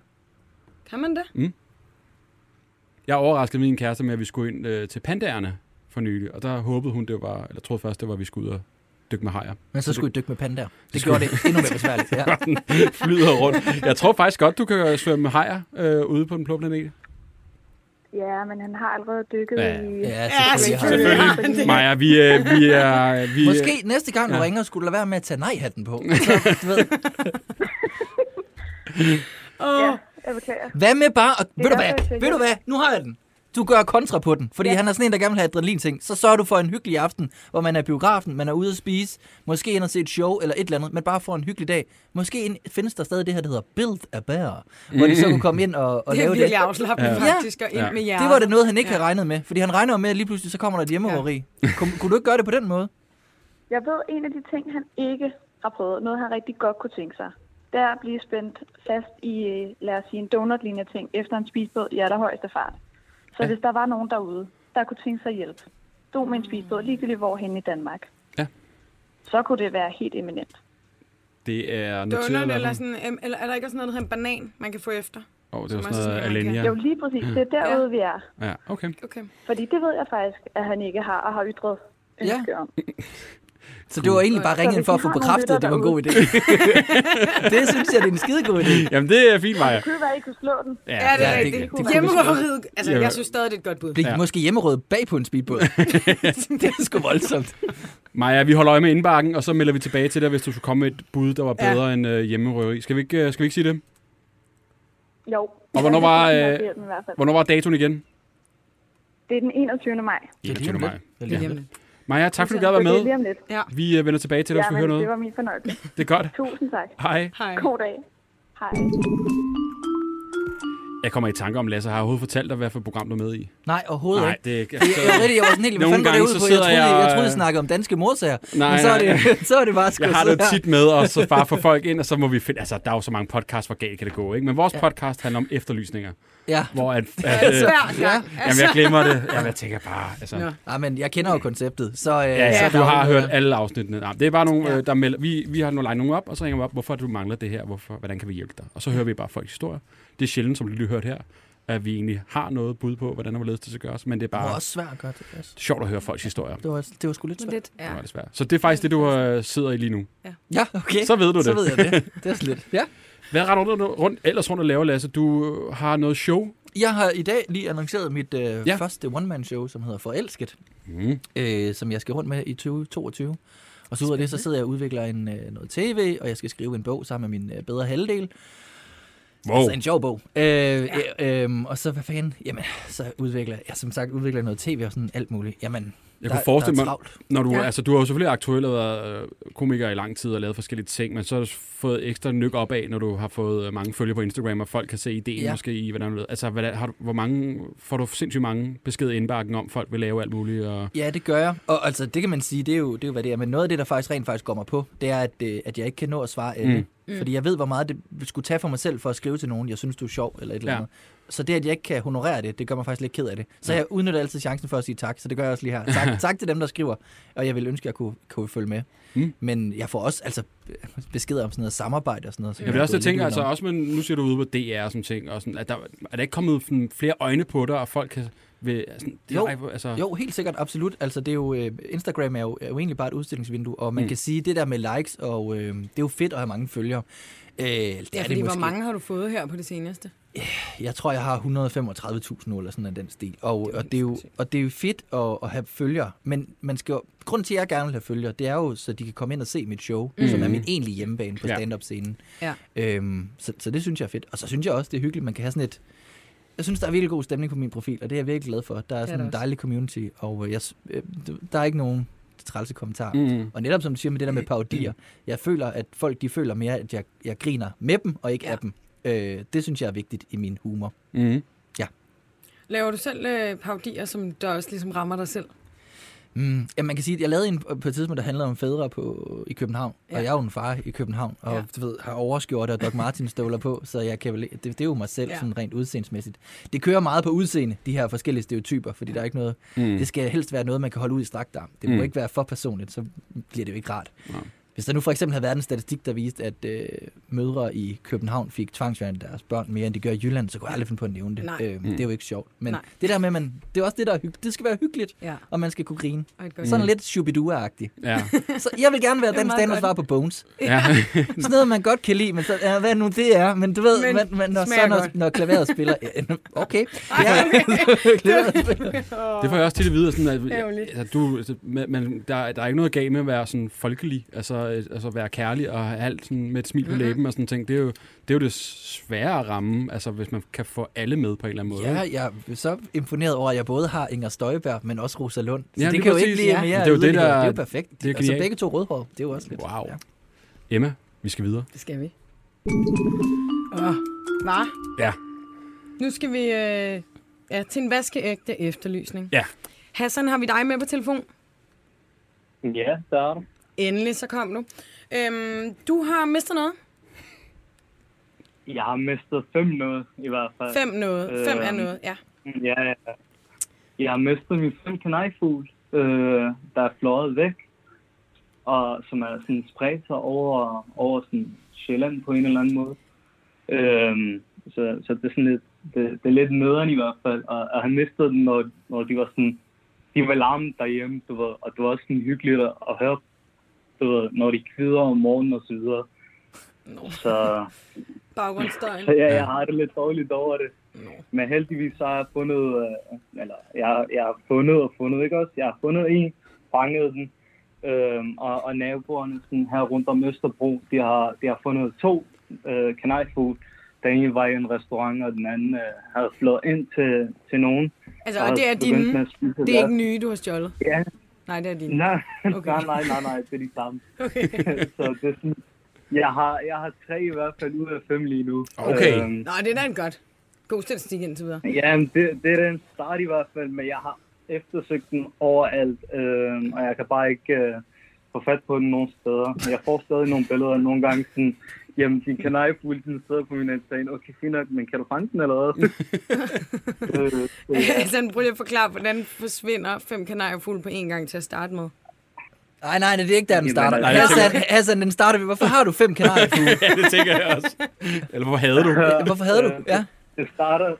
Speaker 3: Kan man det?
Speaker 2: Jeg overraskede min kæreste med, at vi skulle ind øh, til pandagerne for nylig, og der håbede hun, det var, eller troede først, det var, at vi skulle ud og dykke med hajer. <laughs>
Speaker 4: Men så skulle I dykke med pandaer. Det gjorde det endnu mere besværligt. Ja.
Speaker 2: Flyder rundt. Jeg tror faktisk godt, du kan svømme med hajer øh, ude på den blå planet.
Speaker 5: Ja, men han har allerede dykket
Speaker 2: Ja.
Speaker 5: ja. i...
Speaker 4: Ja, selvfølgelig.
Speaker 3: selvfølgelig.
Speaker 2: Selvfølgelig. Maja, vi, øh, vi er... Vi, øh,
Speaker 4: Måske næste gang, du
Speaker 2: Ja.
Speaker 4: ringer, skulle du lade være med at tage nej-hatten på. Så, du ved,
Speaker 3: Åh,
Speaker 5: Ja,
Speaker 3: ja.
Speaker 5: jeg beklager.
Speaker 4: Hvad med bare... At, ved, du
Speaker 5: derfor, jeg
Speaker 4: hvad,
Speaker 5: tænker-
Speaker 4: ved du hvad? Nu har jeg den. Du gør kontra på den, fordi ja.
Speaker 5: Ja.
Speaker 4: han er sådan en, der gerne vil have adrenalin-ting. Så sørger du for en hyggelig aften, hvor man er i biografen, man er ude at spise, måske ind og se et show eller et eller andet, men bare får en hyggelig dag. Måske ind, findes der stadig det her, der hedder Build a Bear, hvor de så kunne komme ind og,
Speaker 3: det
Speaker 4: og
Speaker 3: er
Speaker 4: lave det.
Speaker 3: virkelig afslappende
Speaker 4: Ja.
Speaker 3: faktisk, og ind
Speaker 2: Ja.
Speaker 3: med jer.
Speaker 4: Det var det noget, han ikke ja.
Speaker 3: Ja.
Speaker 4: havde regnet med, fordi han regner jo med, at lige pludselig så kommer der et hjemmerøveri. Ja. Kun, kunne du ikke gøre det på den måde?
Speaker 5: Jeg ved, en af de ting, han ikke har prøvet, noget han rigtig godt kunne tænke sig, det er at blive spændt fast i, øh, lad os sige, en donutlignende ting, efter en spisbåd i allerhøjeste fart. Så ja. hvis der var nogen derude, der kunne tænke sig hjælp, stod med en spisbåd ligegyldigt hvorhen i Danmark,
Speaker 2: Ja.
Speaker 5: så kunne det være helt eminent.
Speaker 2: Det er noteret. i
Speaker 3: Donut
Speaker 2: hvert fald.
Speaker 3: eller sådan, em, eller er der ikke også noget, der hedder en banan, man kan få efter?
Speaker 2: Åh, det
Speaker 3: som
Speaker 2: er sådan
Speaker 3: også
Speaker 2: noget
Speaker 3: er sådan, man
Speaker 2: Alenia.
Speaker 5: Ja. Jo, lige præcis. Det er derude, ja. vi er.
Speaker 2: Ja, okay.
Speaker 3: Okay.
Speaker 5: Fordi det ved jeg faktisk, at han ikke har og har ytret ønske ja. om.
Speaker 4: Så det var egentlig bare
Speaker 5: Så
Speaker 4: ringe ind
Speaker 5: hvis
Speaker 4: for
Speaker 5: I
Speaker 4: at få
Speaker 5: har nogle
Speaker 4: bekræftet,
Speaker 5: lyttere
Speaker 4: at det var en god idé. <laughs>
Speaker 5: derude-
Speaker 4: det synes jeg, det er en skidegod idé.
Speaker 2: Jamen, det er fint, Maja.
Speaker 5: Det kunne jo være, at I kunne slå den.
Speaker 3: Ja, det er
Speaker 4: ja, det-
Speaker 3: rigtigt.
Speaker 4: det
Speaker 3: Det,
Speaker 4: kunne
Speaker 3: det,
Speaker 4: vi
Speaker 3: Hjemmerøveriet, altså
Speaker 2: Ja.
Speaker 3: jeg synes stadig, det er et godt bud.
Speaker 4: Blev
Speaker 2: Ja.
Speaker 4: ja. måske hjemmerøvet bag på en
Speaker 2: <laughs>
Speaker 4: speedbåd? det er sgu voldsomt.
Speaker 2: Maja, vi holder øje med indbakken, og så melder vi tilbage til dig, hvis du skulle komme med et bud, der var
Speaker 3: Ja.
Speaker 2: bedre ja. end øh, hjemmerøveri. Skal vi, ikke, øh, skal vi ikke sige det?
Speaker 5: Jo.
Speaker 2: Og hvornår var,
Speaker 5: Jeg
Speaker 2: øh,
Speaker 5: vil hjælpe i hvert fald.
Speaker 2: Hvornår var datoen igen?
Speaker 5: Det er den 21. maj.
Speaker 4: Det er lige om
Speaker 2: 21.
Speaker 4: lidt.
Speaker 2: maj.
Speaker 4: Det er lige
Speaker 2: Ja.
Speaker 4: om
Speaker 3: Jamen,
Speaker 2: Maja, tak fordi du
Speaker 5: Så
Speaker 2: gad at
Speaker 5: det er
Speaker 2: være med.
Speaker 5: lige om lidt.
Speaker 2: Vi øh, vender tilbage til dig, hvis vi
Speaker 5: Jamen,
Speaker 2: hører noget.
Speaker 5: det var min fornøjelse.
Speaker 2: Det er godt.
Speaker 5: Tusind tak.
Speaker 2: Hej.
Speaker 3: hej.
Speaker 5: God dag. Hej.
Speaker 2: Jeg kommer i tanke om, Lasse, har jeg overhovedet fortalt dig, hvad for et program du er med i?
Speaker 4: Nej, overhovedet
Speaker 2: Nej,
Speaker 4: ikke.
Speaker 2: det er ikke. altså,
Speaker 4: Jeg, jeg, rigtig, jeg var sådan helt, hvad
Speaker 2: Nogle
Speaker 4: fanden går det ud
Speaker 2: gange så
Speaker 4: på? Jeg
Speaker 2: sidder
Speaker 4: troede, jeg,
Speaker 2: jeg-
Speaker 4: jeg troede, I snakkede om danske morsager.
Speaker 2: Nej,
Speaker 4: men så er,
Speaker 2: nej,
Speaker 4: det, <laughs> så er det bare sgu
Speaker 2: Jeg har det
Speaker 4: sådan
Speaker 2: jo
Speaker 4: her.
Speaker 2: tit med os, så bare få folk ind, og så må vi finde... Altså, der er jo så mange podcasts, hvor galt kan det gå, ikke? Men vores podcast handler om efterlysninger,
Speaker 4: Ja.
Speaker 2: hvor at... at,
Speaker 3: Ja, det er
Speaker 2: øh,
Speaker 3: svært, ja.
Speaker 2: jamen, jeg glemmer det. Jamen, jeg tænker bare... Altså,
Speaker 3: Nå.
Speaker 2: ja,
Speaker 4: Ja, men jeg kender jo konceptet, så... Øh,
Speaker 2: ja,
Speaker 4: så
Speaker 2: du
Speaker 4: der er
Speaker 2: har
Speaker 4: jo-
Speaker 2: hørt alle afsnittene. Nej, det er bare nogle,
Speaker 4: Ja.
Speaker 2: øh, der melder, vi, vi har nogle legnet nogen op, og så ringer vi op, hvorfor er det, du mangler det her, hvorfor, hvordan kan vi hjælpe dig? Og så hører vi bare folks historier. Det er sjældent, som du lige har hørt her, at vi egentlig har noget bud på, hvordan og hvorledes det skal gøres, men det er
Speaker 4: Det var
Speaker 2: bare
Speaker 4: også svært godt. Det var-
Speaker 2: sjovt at høre folks historier.
Speaker 4: Det var, det var sgu lidt svært.
Speaker 3: Lidt, ja.
Speaker 2: Det var det svært. Så det er faktisk det, du øh, sidder i lige nu.
Speaker 4: Ja, okay.
Speaker 2: Så ved du det.
Speaker 4: Så ved jeg det. Det er sådan lidt. Ja.
Speaker 2: <laughs> Hvad retter du rundt, ellers rundt og laver, Lasse? Du øh, har noget show.
Speaker 4: Jeg har i dag lige annonceret mit øh,
Speaker 2: Ja.
Speaker 4: ja. første one-man-show, som hedder Forelsket,
Speaker 2: Mm.
Speaker 4: øh, som jeg skal rundt med i 2022. Og så ud af det, så sidder jeg og udvikler en, øh, noget tv, og jeg skal skrive en bog sammen med min øh, bedre halvdel.
Speaker 2: Wow.
Speaker 4: Altså en sjov bog. Øh, ja. øh, og så, hvad fanden? Jamen, så udvikler jeg, som sagt, udvikler jeg noget tv og sådan alt muligt. Jamen,
Speaker 2: Jeg
Speaker 4: der,
Speaker 2: kunne forestille
Speaker 4: der
Speaker 2: mig,
Speaker 4: er travlt.
Speaker 2: når du, ja.
Speaker 3: Ja.
Speaker 2: altså, du har jo selvfølgelig aktuelt været øh, komiker i lang tid og lavet forskellige ting, men så har du fået ekstra nyk op af, når du har fået øh, mange følgere på Instagram, og folk kan se ideen ja.
Speaker 4: Ja.
Speaker 2: måske i, hvordan du Altså, hvordan, har du, hvor mange, får du sindssygt mange beskeder i indbakken om, folk vil lave alt muligt? Og,
Speaker 4: Ja, det gør jeg. Og altså, det kan man sige, det er jo, det er jo hvad det er. Men noget af det, der faktisk rent faktisk går mig på, det er, at, øh, at jeg ikke kan nå at svare alle. Mm. Fordi jeg ved, hvor meget det skulle tage for mig selv for at skrive til nogen, jeg synes, du er sjov eller et eller
Speaker 2: Ja.
Speaker 4: andet. Så det, at jeg ikke kan honorere det, det gør mig faktisk lidt ked af det. Så jeg udnytter altid chancen for at sige tak, så det gør jeg også lige her.
Speaker 2: <laughs>
Speaker 4: Tak, tak til dem, der skriver, og jeg vil ønske, at jeg kunne, kunne følge med.
Speaker 2: Mm.
Speaker 4: Mm. Men jeg får også altså, beskeder om sådan noget samarbejde og sådan noget. Så
Speaker 2: jeg vil også
Speaker 4: gå
Speaker 2: jeg tænker,
Speaker 4: lidt
Speaker 2: altså,
Speaker 4: udenom.
Speaker 2: også men nu ser du ude på DR og sådan ting, og sådan, at der, er der ikke kommet sådan, flere øjne på dig, og folk kan... Vil, sådan,
Speaker 4: Jo.
Speaker 2: ej, hvor- altså,
Speaker 4: Jo, helt sikkert, absolut. Altså, det er jo, øh, Instagram er jo, er jo egentlig bare et udstillingsvindue, og man
Speaker 2: Mm.
Speaker 4: mm. kan sige, det der med likes, og øh, det er jo fedt at have mange følgere. Øh, det er
Speaker 3: Ja,
Speaker 4: det
Speaker 3: fordi
Speaker 4: måske.
Speaker 3: hvor mange har du fået her på det seneste?
Speaker 4: Jeg tror, jeg har 135.000 eller sådan af den stil. Og,
Speaker 3: Det er jo
Speaker 4: og,
Speaker 3: helt
Speaker 4: det er jo,
Speaker 3: sindssygt.
Speaker 4: og det er jo fedt at, at have følgere. Men man skal jo, grunden til, at jeg gerne vil have følgere, det er jo, så de kan komme ind og se mit show, mm. som er min egentlige hjemmebane på
Speaker 2: Ja.
Speaker 4: stand-up-scenen.
Speaker 3: Ja.
Speaker 4: Øhm, så, så det synes jeg er fedt. Og så synes jeg også, det er hyggeligt, man kan have sådan et... Jeg synes, der er virkelig god stemning på min profil, og det er jeg virkelig glad for. Der er
Speaker 3: er
Speaker 4: sådan
Speaker 3: der
Speaker 4: en
Speaker 3: også.
Speaker 4: dejlig community, og øh, jeg, s- øh, der er ikke nogen trælse kommentarer. Mm.
Speaker 2: Mm.
Speaker 4: Og netop som du siger med det der
Speaker 3: Øh,
Speaker 4: med
Speaker 3: <clears throat>
Speaker 4: parodier, jeg føler, at folk de føler mere, at jeg, jeg griner med dem og ikke ja.
Speaker 3: Ja.
Speaker 4: af dem. Øh, det synes jeg er vigtigt i min humor.
Speaker 2: Mm.
Speaker 3: Laver du selv øh, paudier, som der også ligesom rammer dig selv?
Speaker 4: Mm, ja, man kan sige, at jeg lavede en på et tidspunkt, der handlede om fædre på, i København, ja.
Speaker 3: Ja.
Speaker 4: og jeg er jo en far i København, og
Speaker 3: Ja.
Speaker 4: ja. du ved, har overskjorte og Doc Martens støvler på, så jeg kan vel, det, det er jo mig selv ja.
Speaker 3: Ja.
Speaker 4: sådan rent udseendsmæssigt. Det kører meget på udseende, de her forskellige stereotyper, fordi der er ikke noget,
Speaker 2: Mm.
Speaker 4: mm. det skal helst være noget, man kan holde ud i strakt arm. Det må
Speaker 2: Mm.
Speaker 4: mm. ikke være for personligt, så bliver det jo ikke rart.
Speaker 2: Nej.
Speaker 4: Hvis der nu for eksempel havde været en statistik, der viste, at øh, mødre i København fik tvangsfjernet deres børn mere, end de gør i Jylland, så kunne jeg aldrig finde på at nævne det.
Speaker 3: Nej.
Speaker 4: Øh,
Speaker 2: Mm.
Speaker 4: Det er jo ikke sjovt. Men
Speaker 3: Nej.
Speaker 4: det der med, man, det er også det, der er hyggeligt. Det skal være hyggeligt,
Speaker 3: Ja,
Speaker 4: og man skal kunne grine.
Speaker 3: og et godt
Speaker 4: Sådan lidt Shubidua-agtig.
Speaker 2: Ja.
Speaker 4: Så jeg vil gerne være
Speaker 3: Mm. Det er
Speaker 4: den
Speaker 3: meget
Speaker 4: stand, der
Speaker 3: godt.
Speaker 4: svarer på Bones.
Speaker 2: ja. <laughs>
Speaker 4: Sådan noget, man godt kan lide, men så, ja, hvad nu det er. Men du ved,
Speaker 3: Men
Speaker 4: men, men, når,
Speaker 3: smager
Speaker 4: så, når,
Speaker 3: godt.
Speaker 4: når klaveret spiller... Ja, okay.
Speaker 3: <laughs>
Speaker 4: Ja, <laughs> klaveret spiller. <laughs>
Speaker 2: Det får jeg også tit at vide. Sådan, at,
Speaker 3: Ærgerligt.
Speaker 2: altså, du, altså, man, man- der, der er ikke noget galt med at være sådan folkelig. Altså, øh, altså være kærlig og have alt sådan med et smil på
Speaker 4: Mhm.
Speaker 2: mm-hmm. læben og sådan ting, det er, jo, det er jo det svære at ramme, altså hvis man kan få alle med på en eller anden måde.
Speaker 4: Ja,
Speaker 2: ikke?
Speaker 4: jeg er så imponeret over, at jeg både har Inger Støjberg, men også Rosa Lund. Så
Speaker 2: Ja,
Speaker 4: ja, det
Speaker 2: lige
Speaker 4: kan jo
Speaker 2: præcis.
Speaker 4: ikke blive
Speaker 2: Ja.
Speaker 4: mere
Speaker 2: Det er jo det,
Speaker 4: yderligere.
Speaker 2: der-
Speaker 4: det er jo perfekt.
Speaker 2: det er
Speaker 4: Det er altså
Speaker 2: genialt.
Speaker 4: begge to rødhår, det er jo også lidt.
Speaker 2: Wow.
Speaker 4: Ja.
Speaker 2: Emma, vi skal videre.
Speaker 3: Det skal vi. Åh, var.
Speaker 2: Ja.
Speaker 3: Nu skal vi øh, ja, til en vaskeægte efterlysning.
Speaker 2: Ja.
Speaker 3: Hassan, har vi dig med på telefon?
Speaker 6: Ja, der er du.
Speaker 3: Endelig, så kom du. Øhm, du har mistet noget.
Speaker 6: Jeg har mistet fem noget, i hvert fald.
Speaker 3: Fem noget.
Speaker 6: Øh,
Speaker 3: Fem er noget, ja.
Speaker 6: Ja, ja. Jeg har mistet min fem kanariefugl, øh, der er fløjet væk, og som er sådan spredt sig over, over sådan Sjælland på en eller anden måde. Øh, så, så det er sådan lidt, det, det er lidt nederen i hvert fald, og, og han mistede den, når, når de var sådan, de var larmet derhjemme, du ved, og det var også sådan hyggeligt at, at høre, du ved, når de kvider om morgenen og så videre. Så,
Speaker 3: Baggrundsstøjen.
Speaker 6: så ja, jeg har det lidt dårligt over det. Men heldigvis så har jeg fundet, øh, eller jeg, jeg har fundet og fundet, ikke også? Jeg har fundet en, fanget den, øh, og, og naboerne sådan her rundt om Østerbro, de har, de har fundet to øh, kanariefugl. Den ene var i en restaurant, og den anden øh, havde flået ind til, til nogen.
Speaker 3: Altså, og det er
Speaker 6: havde begyndt med
Speaker 3: dine.
Speaker 6: at spise
Speaker 3: Det er
Speaker 6: deres-
Speaker 3: ikke nye, du har stjålet.
Speaker 6: Ja,
Speaker 3: Nej, det er dine.
Speaker 6: nej, <laughs>
Speaker 3: Okay.
Speaker 6: okay. nej, nej, nej, nej, det er de samme.
Speaker 3: <laughs> Okay.
Speaker 6: <laughs> så det er sådan, jeg har, jeg har tre i hvert fald ud af fem lige nu.
Speaker 2: Okay.
Speaker 6: Øhm,
Speaker 3: Nå, det er da en godt. God statistik indtil videre. <laughs>
Speaker 6: Ja, det, det er den start i hvert fald, men jeg har eftersøgt den overalt, øh, og jeg kan bare ikke øh, få fat på den nogen steder. Jeg får stadig nogle billeder nogle gange sådan, jamen din kanariefugle, den sidder på min altan. Okay, fint nok, men kan du fange den eller hvad? øh, så, ja.
Speaker 3: Hassan, prøv lige at forklare, hvordan forsvinder fem kanariefugle på én gang til at starte med?
Speaker 4: Nej, nej, nej, det er ikke der, den
Speaker 6: Jamen,
Speaker 4: starter.
Speaker 6: nej,
Speaker 2: det tænker
Speaker 4: Hassan, Hassan, den starter ved, hvorfor har du fem
Speaker 6: <laughs>
Speaker 4: kanariefugle?
Speaker 2: <laughs> ja, det tænker jeg også. Eller hvor havde du?
Speaker 4: Hvorfor havde du? Ja.
Speaker 6: det starter,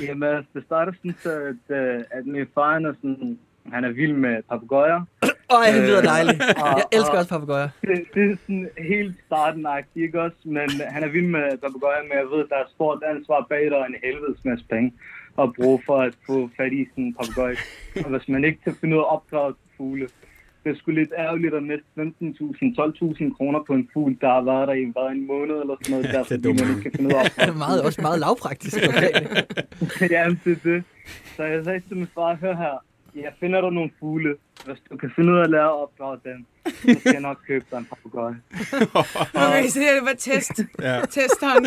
Speaker 6: jamen, altså, det starter sådan, så, at, øh, at min far han er, sådan, han er vild med papegøjer.
Speaker 4: Øj, det lyder
Speaker 6: Øh, ah.
Speaker 4: dejligt.
Speaker 6: og-
Speaker 4: Jeg elsker
Speaker 6: og-
Speaker 4: også papegøjer.
Speaker 6: det, det er sådan helt starten ikke også? Men han er vild med papagøjer, men jeg ved, der er et stort ansvar bag dig og en helvedes masse penge at bruge for at få fat i sådan en papagøj. Og hvis man ikke kan finde ud af at opdrage fugle, det er sgu lidt ærgerligt at miste 15.000, 12.000 kroner på en fugl, der har været der i bare en måned eller sådan noget, der,
Speaker 2: det er
Speaker 6: fordi
Speaker 2: dumt.
Speaker 6: man ikke kan finde ud
Speaker 2: <laughs>
Speaker 6: af at
Speaker 4: Det er
Speaker 6: opdrage
Speaker 4: meget, også meget
Speaker 6: <laughs>
Speaker 4: lavpraktisk. Okay.
Speaker 6: ja, det er det. Så jeg sagde til min far, hør her, jeg finder dig nogle fugle. Hvis du kan finde ud af at lære at opdrage dem, så skal jeg nok købe dig en papagøj.
Speaker 3: Okay, så det her, det var test.
Speaker 2: Ja.
Speaker 3: Testeren.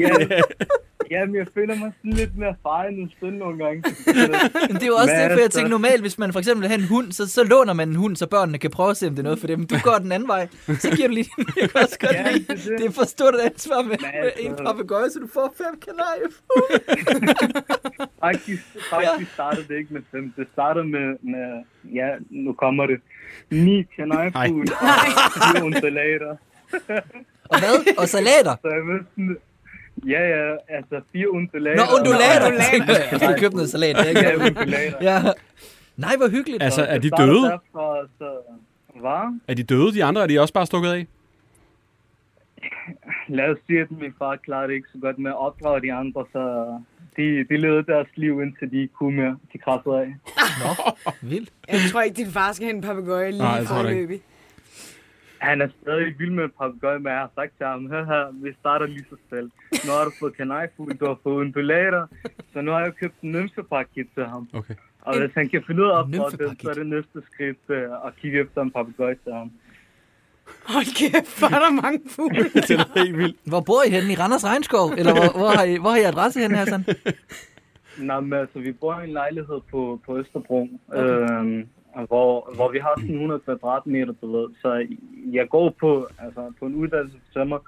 Speaker 6: Ja, <laughs> jamen, jeg føler mig sådan lidt mere far end en søn nogle gange. <laughs>
Speaker 4: Men det er jo også
Speaker 6: Hvad er
Speaker 4: det, for jeg
Speaker 6: det så?
Speaker 4: tænker normalt, hvis man for eksempel vil have en hund, så, så låner man en hund, så børnene kan prøve at se, om det er noget for dem. Du går den anden vej, så giver du lige <laughs> den. Jeg kan også godt
Speaker 6: Ja,
Speaker 4: lide.
Speaker 6: det er det.
Speaker 4: Det er for stort et ansvar med,
Speaker 6: Men
Speaker 4: med en
Speaker 6: altså-
Speaker 4: papegøje, så du får fem kanariefugle.
Speaker 6: Faktisk, faktisk startede det ikke med fem. Det startede med, med ja, nu kommer det, ni kanariefugl og fire undulater.
Speaker 4: Og hvad? Og salater.
Speaker 6: Så jeg ved sådan, ja, ja, altså fire undulater.
Speaker 4: Nå, undulater.
Speaker 3: Nå,
Speaker 4: Jeg tænkte, jeg skal købe noget salat. Det er ikke- <laughs>
Speaker 6: Ja, undulater.
Speaker 4: Ja. Nej, hvor hyggeligt.
Speaker 2: <laughs> Altså, er
Speaker 6: Det
Speaker 2: de
Speaker 6: startede
Speaker 2: døde?
Speaker 6: Derfor, så, var?
Speaker 2: Er de døde, de andre? Er de også bare stukket af?
Speaker 6: Lad os sige, at min far klarede det ikke så godt med at opdrage de andre, så de, de levede deres liv, indtil de ikke kunne mere. De krassede af.
Speaker 4: Vildt.
Speaker 3: Jeg tror ikke, din far skal have en papegøje
Speaker 2: Nej,
Speaker 3: lige
Speaker 2: jeg tror det ikke.
Speaker 3: forløbig.
Speaker 6: Han er stadig vild med papegøjer, men jeg har sagt til ham, hør her, vi starter lige så selv. Nu har du fået kanariefugl, du har fået undulater, så nu har jeg købt en nymfepakket til ham.
Speaker 2: Okay.
Speaker 6: Og hvis han kan finde ud af at opdrage det,
Speaker 4: nymfepakket?
Speaker 6: så er det næste skridt øh, at kigge efter en papegøje til ham.
Speaker 3: Hold kæft, hvor er der mange fugle.
Speaker 2: Det er helt vildt.
Speaker 4: Hvor bor I henne? I Randers Regnskov? Eller hvor, hvor, har, I, hvor har I adresse henne, Hassan?
Speaker 6: Nå, men altså, vi bor i en lejlighed på, på Østerbro, øhm, hvor, hvor vi har sådan 100 kvadratmeter, du ved. Så jeg går på, altså, på en uddannelse for tømmer,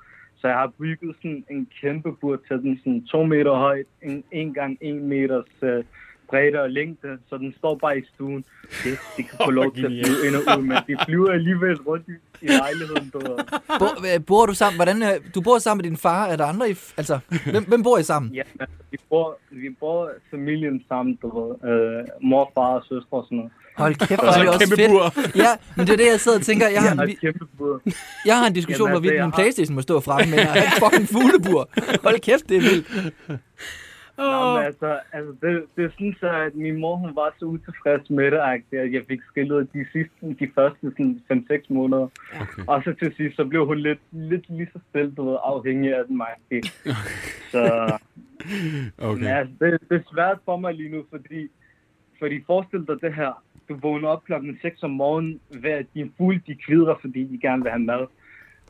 Speaker 6: så jeg har bygget sådan en kæmpe bur til den, sådan to meter højt, en, en gang en meters øh, bredde og længde, så den står bare i stuen. Det, de kan få lov til at
Speaker 2: genialt.
Speaker 6: flyve ind og ud, men de flyver alligevel rundt i, i lejligheden, du ved.
Speaker 4: Bor, øh, bor du sammen? Hvordan, øh, du bor sammen med din far? Er der andre i... f- Altså, hvem, hvem bor I sammen?
Speaker 6: Ja, altså, vi bor, vi bor familien sammen, du ved. Øh, mor, far og søstre og sådan noget.
Speaker 4: Hold kæft,
Speaker 2: Og
Speaker 4: hvor
Speaker 2: så
Speaker 4: er det
Speaker 2: en
Speaker 4: også
Speaker 2: kæmpe
Speaker 4: fedt.
Speaker 2: bur.
Speaker 4: Ja, men det er det, jeg sidder og tænker. Jeg har,
Speaker 6: Og
Speaker 4: en,
Speaker 6: et kæmpe bur.
Speaker 4: jeg har en diskussion,
Speaker 6: Jamen,
Speaker 4: hvor
Speaker 6: altså,
Speaker 4: vidt
Speaker 6: jeg
Speaker 4: min
Speaker 6: har-
Speaker 4: Playstation må stå fremme, men jeg har et fucking fuglebur. Hold kæft, det er vildt.
Speaker 6: Oh. men altså, altså det, det er sådan så, at min mor hun var så utilfreds med det, agtigt, at jeg fik skillet de, sidste, de første sådan, 5-6 måneder.
Speaker 2: Okay.
Speaker 6: Og så til sidst, så blev hun lidt, lidt lige så stille, du ved, afhængig af den mig. Så
Speaker 2: okay.
Speaker 6: okay. altså, det, det er svært for mig lige nu, fordi, fordi forestil dig det her. Du vågner op klokken 6 om morgenen, hver din fuld, de kvider, fordi de gerne vil have mad.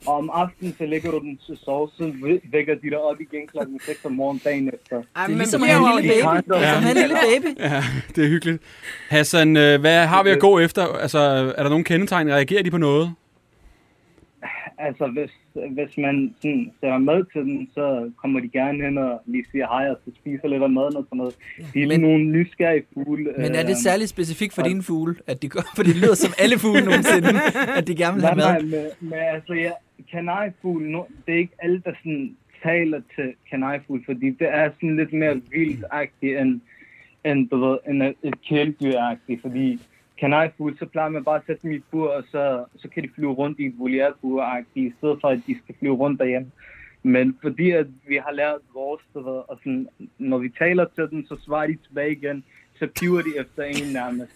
Speaker 6: Og om aftenen, så lægger du den til sove, så væ- vækker de dig op igen klokken 6 om morgenen dagen efter.
Speaker 3: Ej,
Speaker 4: Det er
Speaker 3: men
Speaker 4: ligesom at
Speaker 3: bliver
Speaker 4: have
Speaker 3: jo
Speaker 4: en lille
Speaker 3: også-
Speaker 4: baby.
Speaker 6: Ja.
Speaker 4: Som at have en lille baby.
Speaker 2: Ja, <laughs> det er hyggeligt. Hassan, øh, hvad har vi at gå efter? Altså, er der nogen kendetegn? Reagerer de på noget?
Speaker 6: Altså, hvis, hvis man sådan, sætter mad til dem, så kommer de gerne hen og lige siger hej, og så spiser lidt af maden og sådan noget. De
Speaker 4: Men-
Speaker 6: er men, nogle nysgerrige fugle.
Speaker 4: Men er det
Speaker 6: øhm,
Speaker 4: særligt specifikt for dine fugle, at de gør, for det lyder som alle fugle nogensinde, at de gerne vil
Speaker 6: Nej,
Speaker 4: have
Speaker 6: nej,
Speaker 4: mad?
Speaker 6: men, men altså, ja, kanariefugl, nu, det er ikke alle, der sådan taler til kanariefugl, fordi det er sådan lidt mere vildagtigt end, end, du ved, end et- et kæledyragtigt, fordi kanariefugl, så plejer man bare at sætte dem i et bur, og så, så kan de flyve rundt i et voliærbur i stedet for, at de skal flyve rundt derhjemme. Men fordi at vi har lært vores, du ved, og sådan, når vi taler til dem, så svarer de tilbage igen, så piver de efter en nærmest.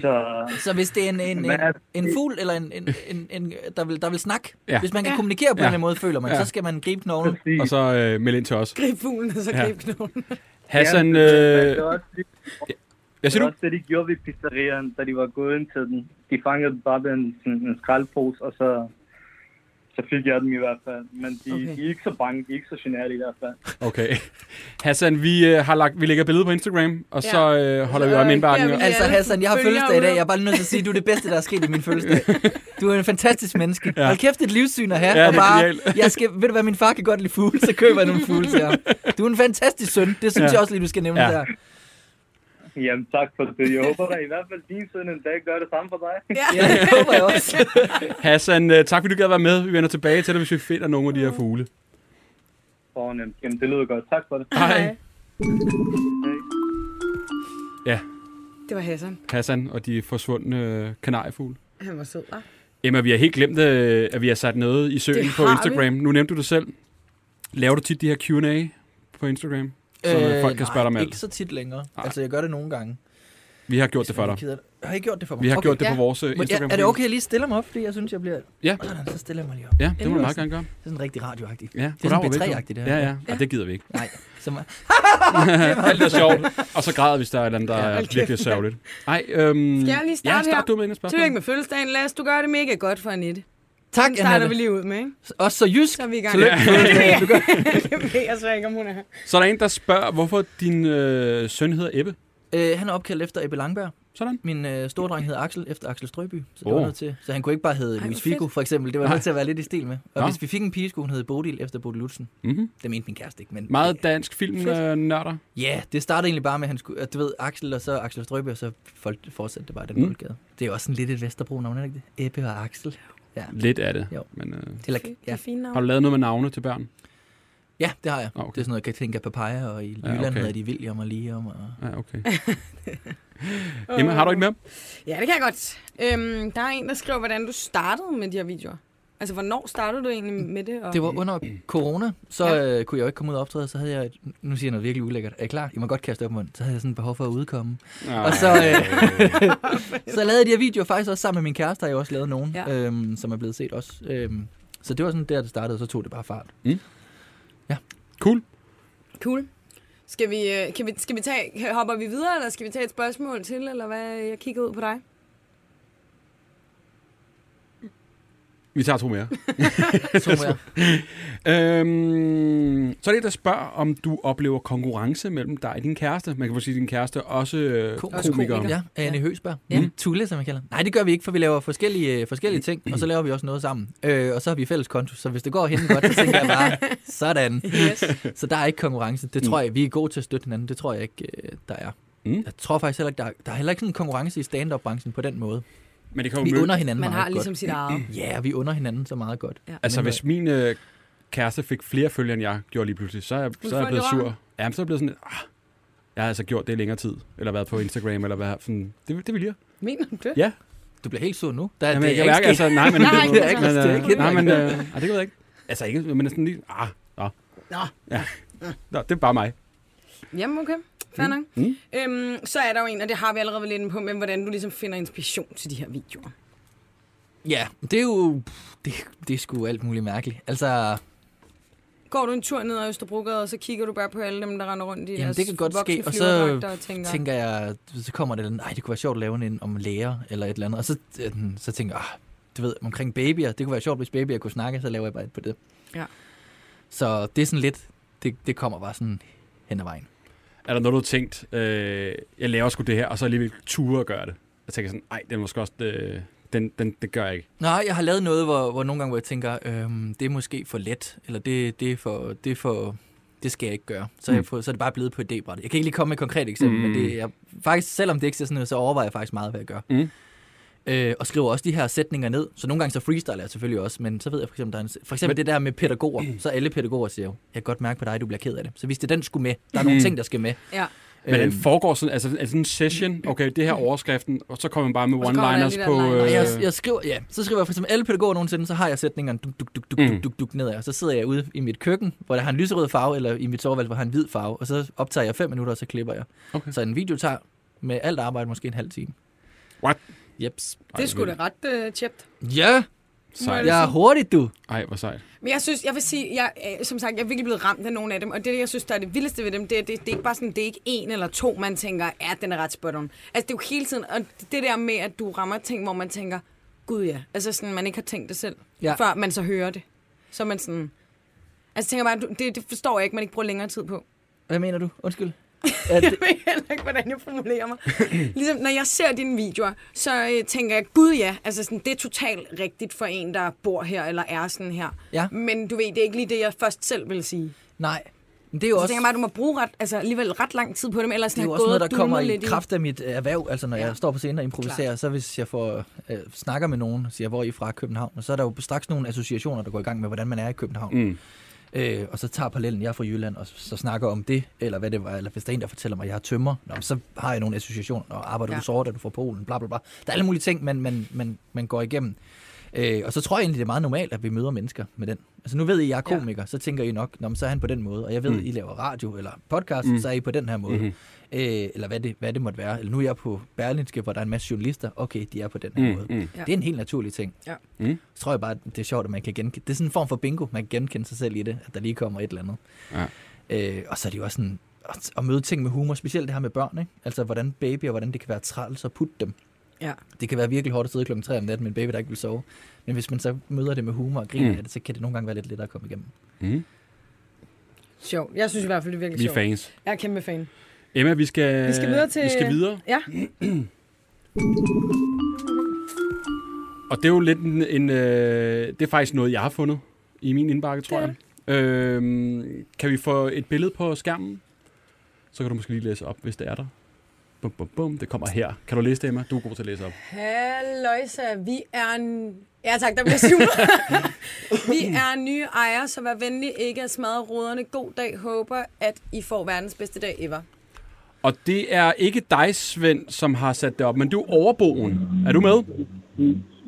Speaker 6: Så,
Speaker 4: Så hvis det er en, en, en,
Speaker 6: Men altså,
Speaker 4: en
Speaker 6: det-
Speaker 4: fugl, eller en, en, en, en der, vil, der vil snakke,
Speaker 2: Ja.
Speaker 4: hvis man kan
Speaker 3: Ja.
Speaker 4: kommunikere på en
Speaker 2: Ja.
Speaker 4: eller anden måde, føler man,
Speaker 2: Ja.
Speaker 4: så skal man gribe knoglen.
Speaker 6: præcis.
Speaker 2: Og så øh, meld ind til os.
Speaker 3: Grib fuglen, og så
Speaker 2: Ja.
Speaker 3: grib
Speaker 4: <laughs>
Speaker 3: knoglen.
Speaker 2: Hassan,
Speaker 6: Ja, det,
Speaker 2: øh,
Speaker 6: det, var også, det,
Speaker 2: jeg
Speaker 6: det
Speaker 2: siger
Speaker 6: var
Speaker 2: du?
Speaker 6: også det, de gjorde ved pizzeriaen, da de var gået ind til den. De fangede dem bare ved en, sådan en skraldpose, og så, så fik jeg dem i hvert fald. Men de,
Speaker 3: Okay.
Speaker 6: okay. de er ikke så bange, de er ikke så generet i hvert fald.
Speaker 2: Okay. <laughs> Hassan, vi, øh, har lagt, vi lægger billeder på Instagram, og
Speaker 3: Ja.
Speaker 2: så øh, holder vi øje med
Speaker 3: Øh,
Speaker 2: indbakken.
Speaker 3: ja, vi-
Speaker 4: Altså
Speaker 3: alle
Speaker 4: Hassan, jeg har
Speaker 3: følger
Speaker 4: fødselsdag i dag.
Speaker 3: ude.
Speaker 4: Jeg er bare lige nødt til at sige, at du er det bedste, der er sket i min fødselsdag. Du er en fantastisk menneske. Ja. Hold kæft, et livssyn at have.
Speaker 2: Ja,
Speaker 4: og
Speaker 2: det er
Speaker 4: bare,
Speaker 2: genialt.
Speaker 4: jeg skal, ved du hvad, min far kan godt lide fugle, så køber jeg nogle fugle til ham. Du er en fantastisk søn. Det synes
Speaker 2: Ja.
Speaker 4: ja. jeg også lige, du skal nævne
Speaker 2: Ja.
Speaker 4: ja. der.
Speaker 6: Jamen tak for det. Jeg håber da i hvert fald, din søn en dag gør det samme for dig.
Speaker 4: Ja, det håber jeg også.
Speaker 2: <laughs> Hassan, øh, tak fordi du gad at være med. Vi vender tilbage til dig, hvis vi finder nogle af de her fugle.
Speaker 6: Fornemt. Jamen det lyder godt. Tak for det.
Speaker 2: Hej.
Speaker 3: Det var Hassan.
Speaker 2: Hassan og de forsvundne øh, kanariefugle.
Speaker 3: Han var sød, hva'?
Speaker 2: Emma, vi har helt glemt, øh, at vi har sat noget i søen
Speaker 3: Det
Speaker 2: på
Speaker 3: har
Speaker 2: Instagram. Vi. Nu nævnte du det selv. Laver du tit de her Q&A på Instagram? Så øh, folk kan spørge dig om
Speaker 4: nej,
Speaker 2: alt.
Speaker 4: ikke så tit længere.
Speaker 2: Nej.
Speaker 4: Altså, jeg gør det nogle gange.
Speaker 2: Vi har gjort det for dig.
Speaker 4: Keder- Har I gjort det for mig?
Speaker 2: Vi har
Speaker 4: okay.
Speaker 2: okay, gjort det
Speaker 3: ja.
Speaker 2: på vores øh,
Speaker 4: Men
Speaker 2: Instagram.
Speaker 4: er, er det okay, at jeg lige stiller mig op? Fordi jeg synes, jeg bliver...
Speaker 2: Ja.
Speaker 4: Sådan, Så stiller jeg mig lige op.
Speaker 2: Ja, det må du
Speaker 4: Endelig
Speaker 2: meget gerne gøre.
Speaker 4: Det er sådan rigtig
Speaker 2: <laughs>
Speaker 4: radioagtigt.
Speaker 2: Ja,
Speaker 4: Det er
Speaker 2: goddag og
Speaker 4: sådan
Speaker 2: velkommen.
Speaker 4: B3-agtigt, det her.
Speaker 2: Ja, ja. ja. Og det gider vi ikke.
Speaker 4: Nej, så meget.
Speaker 2: Alt er sjovt. Og så græder vi, hvis der er et eller andet, der
Speaker 4: <laughs> Ja,
Speaker 2: er
Speaker 3: hold kæft,
Speaker 2: virkelig
Speaker 3: mand.
Speaker 2: sørgeligt. Ej, øhm,
Speaker 3: Skal jeg lige
Speaker 2: ja,
Speaker 3: starte her?
Speaker 2: start du med en spørgsmål.
Speaker 3: Tillykke med fødselsdagen, Lasse. Du gør det mega godt for Annette.
Speaker 4: <laughs> Tak,
Speaker 3: Den starter vi
Speaker 4: Anna.
Speaker 3: lige ud med, ikke?
Speaker 4: Også så jysk.
Speaker 3: Så er vi i gang.
Speaker 4: Tillykke.
Speaker 2: <laughs>
Speaker 4: Ja. Du gør-
Speaker 3: <laughs> Jeg ved altså ikke, om hun er her.
Speaker 2: Så er der en, der spørger, hvorfor din øh, søn hedder Ebbe.
Speaker 4: <laughs> Øh, han er opkaldt efter Ebbe Langberg.
Speaker 2: Sådan.
Speaker 4: Min øh, store dreng hedder Axel, efter Axel Strøby. Så, det
Speaker 2: Åh.
Speaker 4: var noget til. så han kunne ikke bare hedde
Speaker 3: hvor
Speaker 4: Louis
Speaker 3: fedt.
Speaker 4: Figo, for eksempel. Det var
Speaker 2: Nej.
Speaker 4: nødt til at være lidt i stil med. Og
Speaker 2: Nå.
Speaker 4: hvis vi fik en pige, skulle hun hedde Bodil efter Bodil Lutzen.
Speaker 2: Mm-hmm.
Speaker 4: Det mente min kæreste ikke, men...
Speaker 2: Meget dansk filmnørder.
Speaker 4: Fedt.
Speaker 2: Øh, nørder.
Speaker 4: Ja, det startede egentlig bare med, at han skulle... At, du ved, Axel og så Axel Strøby, og så folk fortsatte det bare i den
Speaker 2: Mm.
Speaker 4: boldgade. Det er jo også sådan lidt et Vesterbro-navn, er det ikke det? Ebbe og Axel.
Speaker 2: Lidt af det.
Speaker 4: Jo.
Speaker 2: Men, øh,
Speaker 4: Eller,
Speaker 3: Det
Speaker 4: ja.
Speaker 3: er fine navn.
Speaker 2: har du lavet noget med navne til børn?
Speaker 4: ja, det har jeg.
Speaker 2: Ah, okay.
Speaker 4: Det er sådan noget, jeg kan tænke af papaya, og i
Speaker 2: Ja,
Speaker 4: Jylland
Speaker 2: okay.
Speaker 4: hedder de William og Liam. Og... <laughs>
Speaker 2: Ja, okay. Emma, har du ikke med?
Speaker 3: Ja, det kan jeg godt. Øhm, der er en, der skriver, hvordan du startede med de her videoer. Altså, hvornår startede du egentlig med det? Og...
Speaker 4: Det var under
Speaker 2: Mm.
Speaker 4: corona, så ja. øh, kunne jeg jo ikke komme ud og optræde, så havde jeg, et, nu siger jeg noget virkelig ulækkert, er I klar? I må godt kaste op i munden. Så havde jeg sådan et behov for at udkomme. Og så,
Speaker 2: <laughs>
Speaker 4: øh, <laughs> så lavede jeg de her videoer faktisk også sammen med min kæreste, har jeg også lavet nogen,
Speaker 3: Ja.
Speaker 4: ja. øhm, som er blevet set også. Øhm, så det var sådan der, det startede, og så tog det bare
Speaker 2: <laughs>
Speaker 4: fart.
Speaker 2: Cool.
Speaker 3: Cool. Skal vi, øh, kan vi, skal vi tage, hopper vi videre, eller skal vi tage et spørgsmål til, eller hvad? Jeg kigger ud på dig.
Speaker 2: Vi tager to mere.
Speaker 4: Tror jeg.
Speaker 2: Øhm, så er det en, der spørger, om du oplever konkurrence mellem dig og din kæreste. Man kan måske sige, at din kæreste er også øh,
Speaker 4: Ko-
Speaker 3: Også Mm.
Speaker 2: komiker.
Speaker 3: komiker.
Speaker 2: Ja.
Speaker 4: Ja, Anne Høsberg.
Speaker 2: Ja. Mm.
Speaker 4: Ja. Tulle, som jeg kalder. Nej, det gør vi ikke, for vi laver forskellige, øh, forskellige ting, og så laver vi også noget sammen. Øh, og så har vi fælles konto, så hvis det går hen godt, så tænker jeg bare,
Speaker 3: <laughs>
Speaker 4: sådan.
Speaker 3: Yes.
Speaker 4: Så der er ikke konkurrence. Det tror jeg, vi er gode til at støtte hinanden. Det tror jeg ikke, øh, der er.
Speaker 2: Mm.
Speaker 4: Jeg tror faktisk heller ikke, der er, der er heller ikke sådan en konkurrence i stand-up-branchen på den måde.
Speaker 2: Men det kan jo
Speaker 4: Vi
Speaker 2: møde-
Speaker 4: under hinanden
Speaker 3: Man
Speaker 4: meget
Speaker 3: har ligesom
Speaker 4: godt.
Speaker 3: sit <laughs> eget.
Speaker 4: Ja, vi under hinanden så meget godt.
Speaker 3: Ja.
Speaker 2: Altså,
Speaker 4: Men-
Speaker 2: hvis min øh, kæreste fik flere følgere, end jeg gjorde lige pludselig, så er jeg, så er jeg
Speaker 3: få
Speaker 2: blevet
Speaker 3: det røven.
Speaker 2: sur. Ja, men så er jeg blevet sådan, lidt, ah, jeg har altså gjort det i længere tid. Eller været på Instagram, eller hvad. Sådan, det, det vil jeg.
Speaker 3: Mener du det?
Speaker 2: Ja.
Speaker 4: Du bliver helt sur nu. Der,
Speaker 2: Jamen,
Speaker 4: det
Speaker 2: jeg
Speaker 4: er
Speaker 2: kan mærke,
Speaker 4: ikke sket.
Speaker 2: altså,
Speaker 4: <laughs>
Speaker 2: nej, men...
Speaker 3: Nej,
Speaker 2: <laughs> men,
Speaker 3: det er ikke-
Speaker 2: men,
Speaker 4: det er ikke
Speaker 2: øh, nej, men,
Speaker 4: Henrik.
Speaker 2: øh, ah, det ved jeg ikke. Altså, ikke, men sådan lige, ah, nå. Nå. Ja. Nå, det er bare mig.
Speaker 3: Jamen, okay. Fair nok. Mm. Øhm, så er der jo en, og det har vi allerede været lidt inde på, men hvordan du ligesom finder inspiration til de her videoer.
Speaker 4: Ja, det er jo... Det, det er sgu alt muligt mærkeligt. Altså,
Speaker 3: Går du en tur ned ad Østerbrogade, og så kigger du bare på alle dem, der render rundt i
Speaker 4: Jamen,
Speaker 3: deres
Speaker 4: det kan godt ske, og så
Speaker 3: voksenflyverdragter og tænker,
Speaker 4: tænker jeg, så kommer det, nej, det kunne være sjovt at lave en om læger eller et eller andet. Og så, øh, så tænker jeg, ah, du ved, omkring babyer, det kunne være sjovt, hvis babyer kunne snakke, så laver jeg bare et på det.
Speaker 3: Ja.
Speaker 4: Så det er sådan lidt, det, det kommer bare sådan hen ad vejen.
Speaker 2: Er der noget, du har tænkt, øh, jeg laver sgu det her, og så alligevel ture at gøre det? Jeg tænker sådan, nej, den er måske også, øh, den, den, den gør jeg ikke.
Speaker 4: Nej, jeg har lavet noget, hvor, hvor nogle gange, hvor jeg tænker, øhm, det er måske for let, eller det, det er for... Det er for det skal jeg ikke gøre. Så, er jeg får, så er det bare blevet på et idébræt. Jeg kan ikke lige komme med et konkret eksempel, mm. men det, jeg, faktisk, selvom det ikke ser sådan ud, så overvejer jeg faktisk meget, hvad jeg gør.
Speaker 2: Mm.
Speaker 4: øh, og skriver også de her sætninger ned. Så nogle gange så freestyler jeg selvfølgelig også, men så ved jeg for eksempel, der er en, for eksempel men, det der med pædagoger, så alle pædagoger siger jo, jeg kan godt mærke på dig, du bliver ked af det. Så hvis det den skulle med, der er nogle ting, der skal med. Øh,
Speaker 3: Ja.
Speaker 2: Men
Speaker 3: Øhm.
Speaker 2: den foregår sådan, altså er det sådan en session, okay, det her er overskriften, og så kommer man bare med
Speaker 3: Mm. Og så kommer der alle de der
Speaker 2: one-liners på...
Speaker 3: liners.
Speaker 4: Og
Speaker 2: Øh,
Speaker 4: jeg, jeg skriver, ja, så skriver jeg for eksempel alle pædagoger nogensinde, så har jeg sætningerne duk, duk, duk, duk,
Speaker 2: Mm.
Speaker 4: duk, duk, duk nedad, og så sidder jeg ude i mit køkken, hvor der har en lyserød farve, eller i mit soveværelse, hvor der har en hvid farve, og så optager jeg fem minutter, og så klipper jeg.
Speaker 2: Okay.
Speaker 4: Så en video tager med alt arbejde måske en halv time.
Speaker 2: What?
Speaker 4: Jeps.
Speaker 2: Ej,
Speaker 3: Det skulle da ret uh, tjept.
Speaker 4: Ja,
Speaker 2: Sejt.
Speaker 4: jeg er hurtig, du.
Speaker 2: Ej, hvor sejt.
Speaker 3: Men jeg synes, jeg vil sige, jeg, øh, som sagt, jeg er virkelig blevet ramt af nogle af dem, og det, jeg synes, der er det vildeste ved dem, det, er- det, det er ikke bare sådan, det er ikke en eller to, man tænker, ja, den er ret spot on. Altså, det er jo hele tiden, og det der med, at du rammer ting, hvor man tænker, gud ja, altså sådan, man ikke har tænkt det selv,
Speaker 4: Ja.
Speaker 3: ja. før man så hører det. Så er man sådan, altså tænker jeg bare, du- det, det forstår jeg ikke, man ikke bruger længere tid på.
Speaker 4: Hvad mener du? Undskyld. Er
Speaker 3: <laughs> Jeg
Speaker 4: det,
Speaker 3: ved heller ikke, hvordan jeg formulerer mig. Ligesom, når jeg ser dine videoer, så øh, tænker jeg, gud ja, altså sådan, det er totalt rigtigt for en, der bor her eller er sådan her.
Speaker 4: Ja.
Speaker 3: Men du ved, det er ikke lige det, jeg først selv vil sige.
Speaker 4: nej. Men det er jo
Speaker 3: Så
Speaker 4: også...
Speaker 3: tænker jeg bare, at du må bruge ret, altså, alligevel ret lang tid på dem, ellers
Speaker 4: Det er jo
Speaker 3: har
Speaker 4: også
Speaker 3: gået
Speaker 4: noget,
Speaker 3: og
Speaker 4: der
Speaker 3: dulmet
Speaker 4: kommer i
Speaker 3: lidt
Speaker 4: kraft af mit øh, erhverv. Altså, når ja. jeg står på scenen og improviserer, Klar.
Speaker 3: Klart.
Speaker 4: så hvis jeg får, øh, snakker med nogen og siger, hvor er I fra København, og så er der jo straks nogle associationer, der går i gang med, hvordan man er i København.
Speaker 2: Mm.
Speaker 4: Øh, og så tager parallellen, jeg er fra Jylland, og så snakker om det, eller hvad det var, eller hvis der er en, der fortæller mig, at jeg har tømmer, nå, men så har jeg nogle associationer, og arbejder ja.
Speaker 3: Ja.
Speaker 4: du sort, er du fra Polen, bla bla bla. Der er alle mulige ting, man, man, man, man går igennem. Øh, og så tror jeg egentlig, det er meget normalt, at vi møder mennesker med den. Altså nu ved I, at jeg er
Speaker 3: Ja.
Speaker 4: komiker, så tænker I nok, Nå, men så er han på den måde, og jeg ved, mm. I laver radio eller podcast, mm. så er I på den her måde. Mm-hmm. Øh, eller hvad det, hvad det måtte være. Eller nu er jeg på Berlinske, hvor der er en masse journalister. Okay, de er på den her mm. måde. Mm.
Speaker 2: mm.
Speaker 4: Ja. Det er en helt naturlig ting.
Speaker 3: Ja.
Speaker 2: Mm.
Speaker 4: Så tror jeg bare, at det er sjovt, at man kan genkende. Det er sådan en form for bingo, man kan genkende sig selv i det, at der lige kommer et eller andet.
Speaker 2: Ja.
Speaker 4: Øh, og så er det jo også sådan at- at møde ting med humor, specielt det her med børn, ikke? Altså, hvordan babyer, hvordan det kan være træls at putte dem.
Speaker 3: Ja.
Speaker 4: Det kan være virkelig hårdt at sidde klokken 3 om natten med en baby, der ikke vil sove. Men hvis man så møder det med humor og griner
Speaker 2: Mm.
Speaker 4: mm. af det, så kan det nogle gange være lidt lettere at komme igennem.
Speaker 3: Sjovt. Jeg synes i hvert fald, det er virkelig
Speaker 2: Vi er
Speaker 3: sjovt.
Speaker 2: fans.
Speaker 3: Jeg er kæmpe fan.
Speaker 2: Emma, vi skal...
Speaker 3: Vi skal videre til...
Speaker 2: Vi skal videre.
Speaker 3: Ja.
Speaker 4: Mm.
Speaker 2: Og det er jo lidt en... en øh, det er faktisk noget, jeg har fundet i min indbakke, tror jeg. Øhm, kan vi få et billede på skærmen? Så kan du måske lige læse op, hvis det er der. Bum, bum, bum. Det kommer her. Kan du læse det, Emma? Du er god til at læse op.
Speaker 3: Halløjsa, vi er... En... Ja tak, der bliver super.
Speaker 4: <laughs>
Speaker 3: vi er nye ejere, så vær venlig ikke at smadre ruderne. God dag, håber, at I får verdens bedste dag ever.
Speaker 2: Og det er ikke dig, Svend, som har sat det op, men du er overboen. Er du med?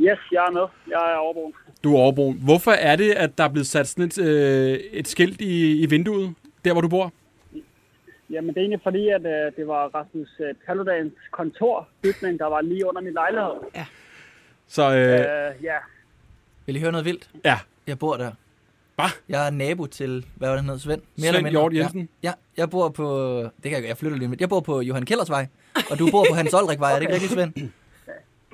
Speaker 6: Yes, jeg er med. Jeg er overboen.
Speaker 2: Du er overboen. Hvorfor er det, at der er blevet sat sådan et, øh, et skilt i, i vinduet, der hvor du bor?
Speaker 6: Jamen, det er egentlig fordi, at øh, det var Rasmus øh, Paludans kontorbygning, der var lige under min lejlighed.
Speaker 2: Så øh,
Speaker 6: Øh, ja,
Speaker 4: Vil I høre noget vildt?
Speaker 2: ja,
Speaker 4: Jeg bor der.
Speaker 2: Hva?
Speaker 4: Jeg er nabo til, hvad var det, han hed, Svend? Mere
Speaker 2: Svend Hjort Jensen?
Speaker 4: Ja. ja, jeg bor på, det kan jeg, ikke, jeg flytter lige om lidt. Jeg bor på Johan Kellers vej, og du bor på Hans Olrik-vej, er det ikke rigtigt, Svend?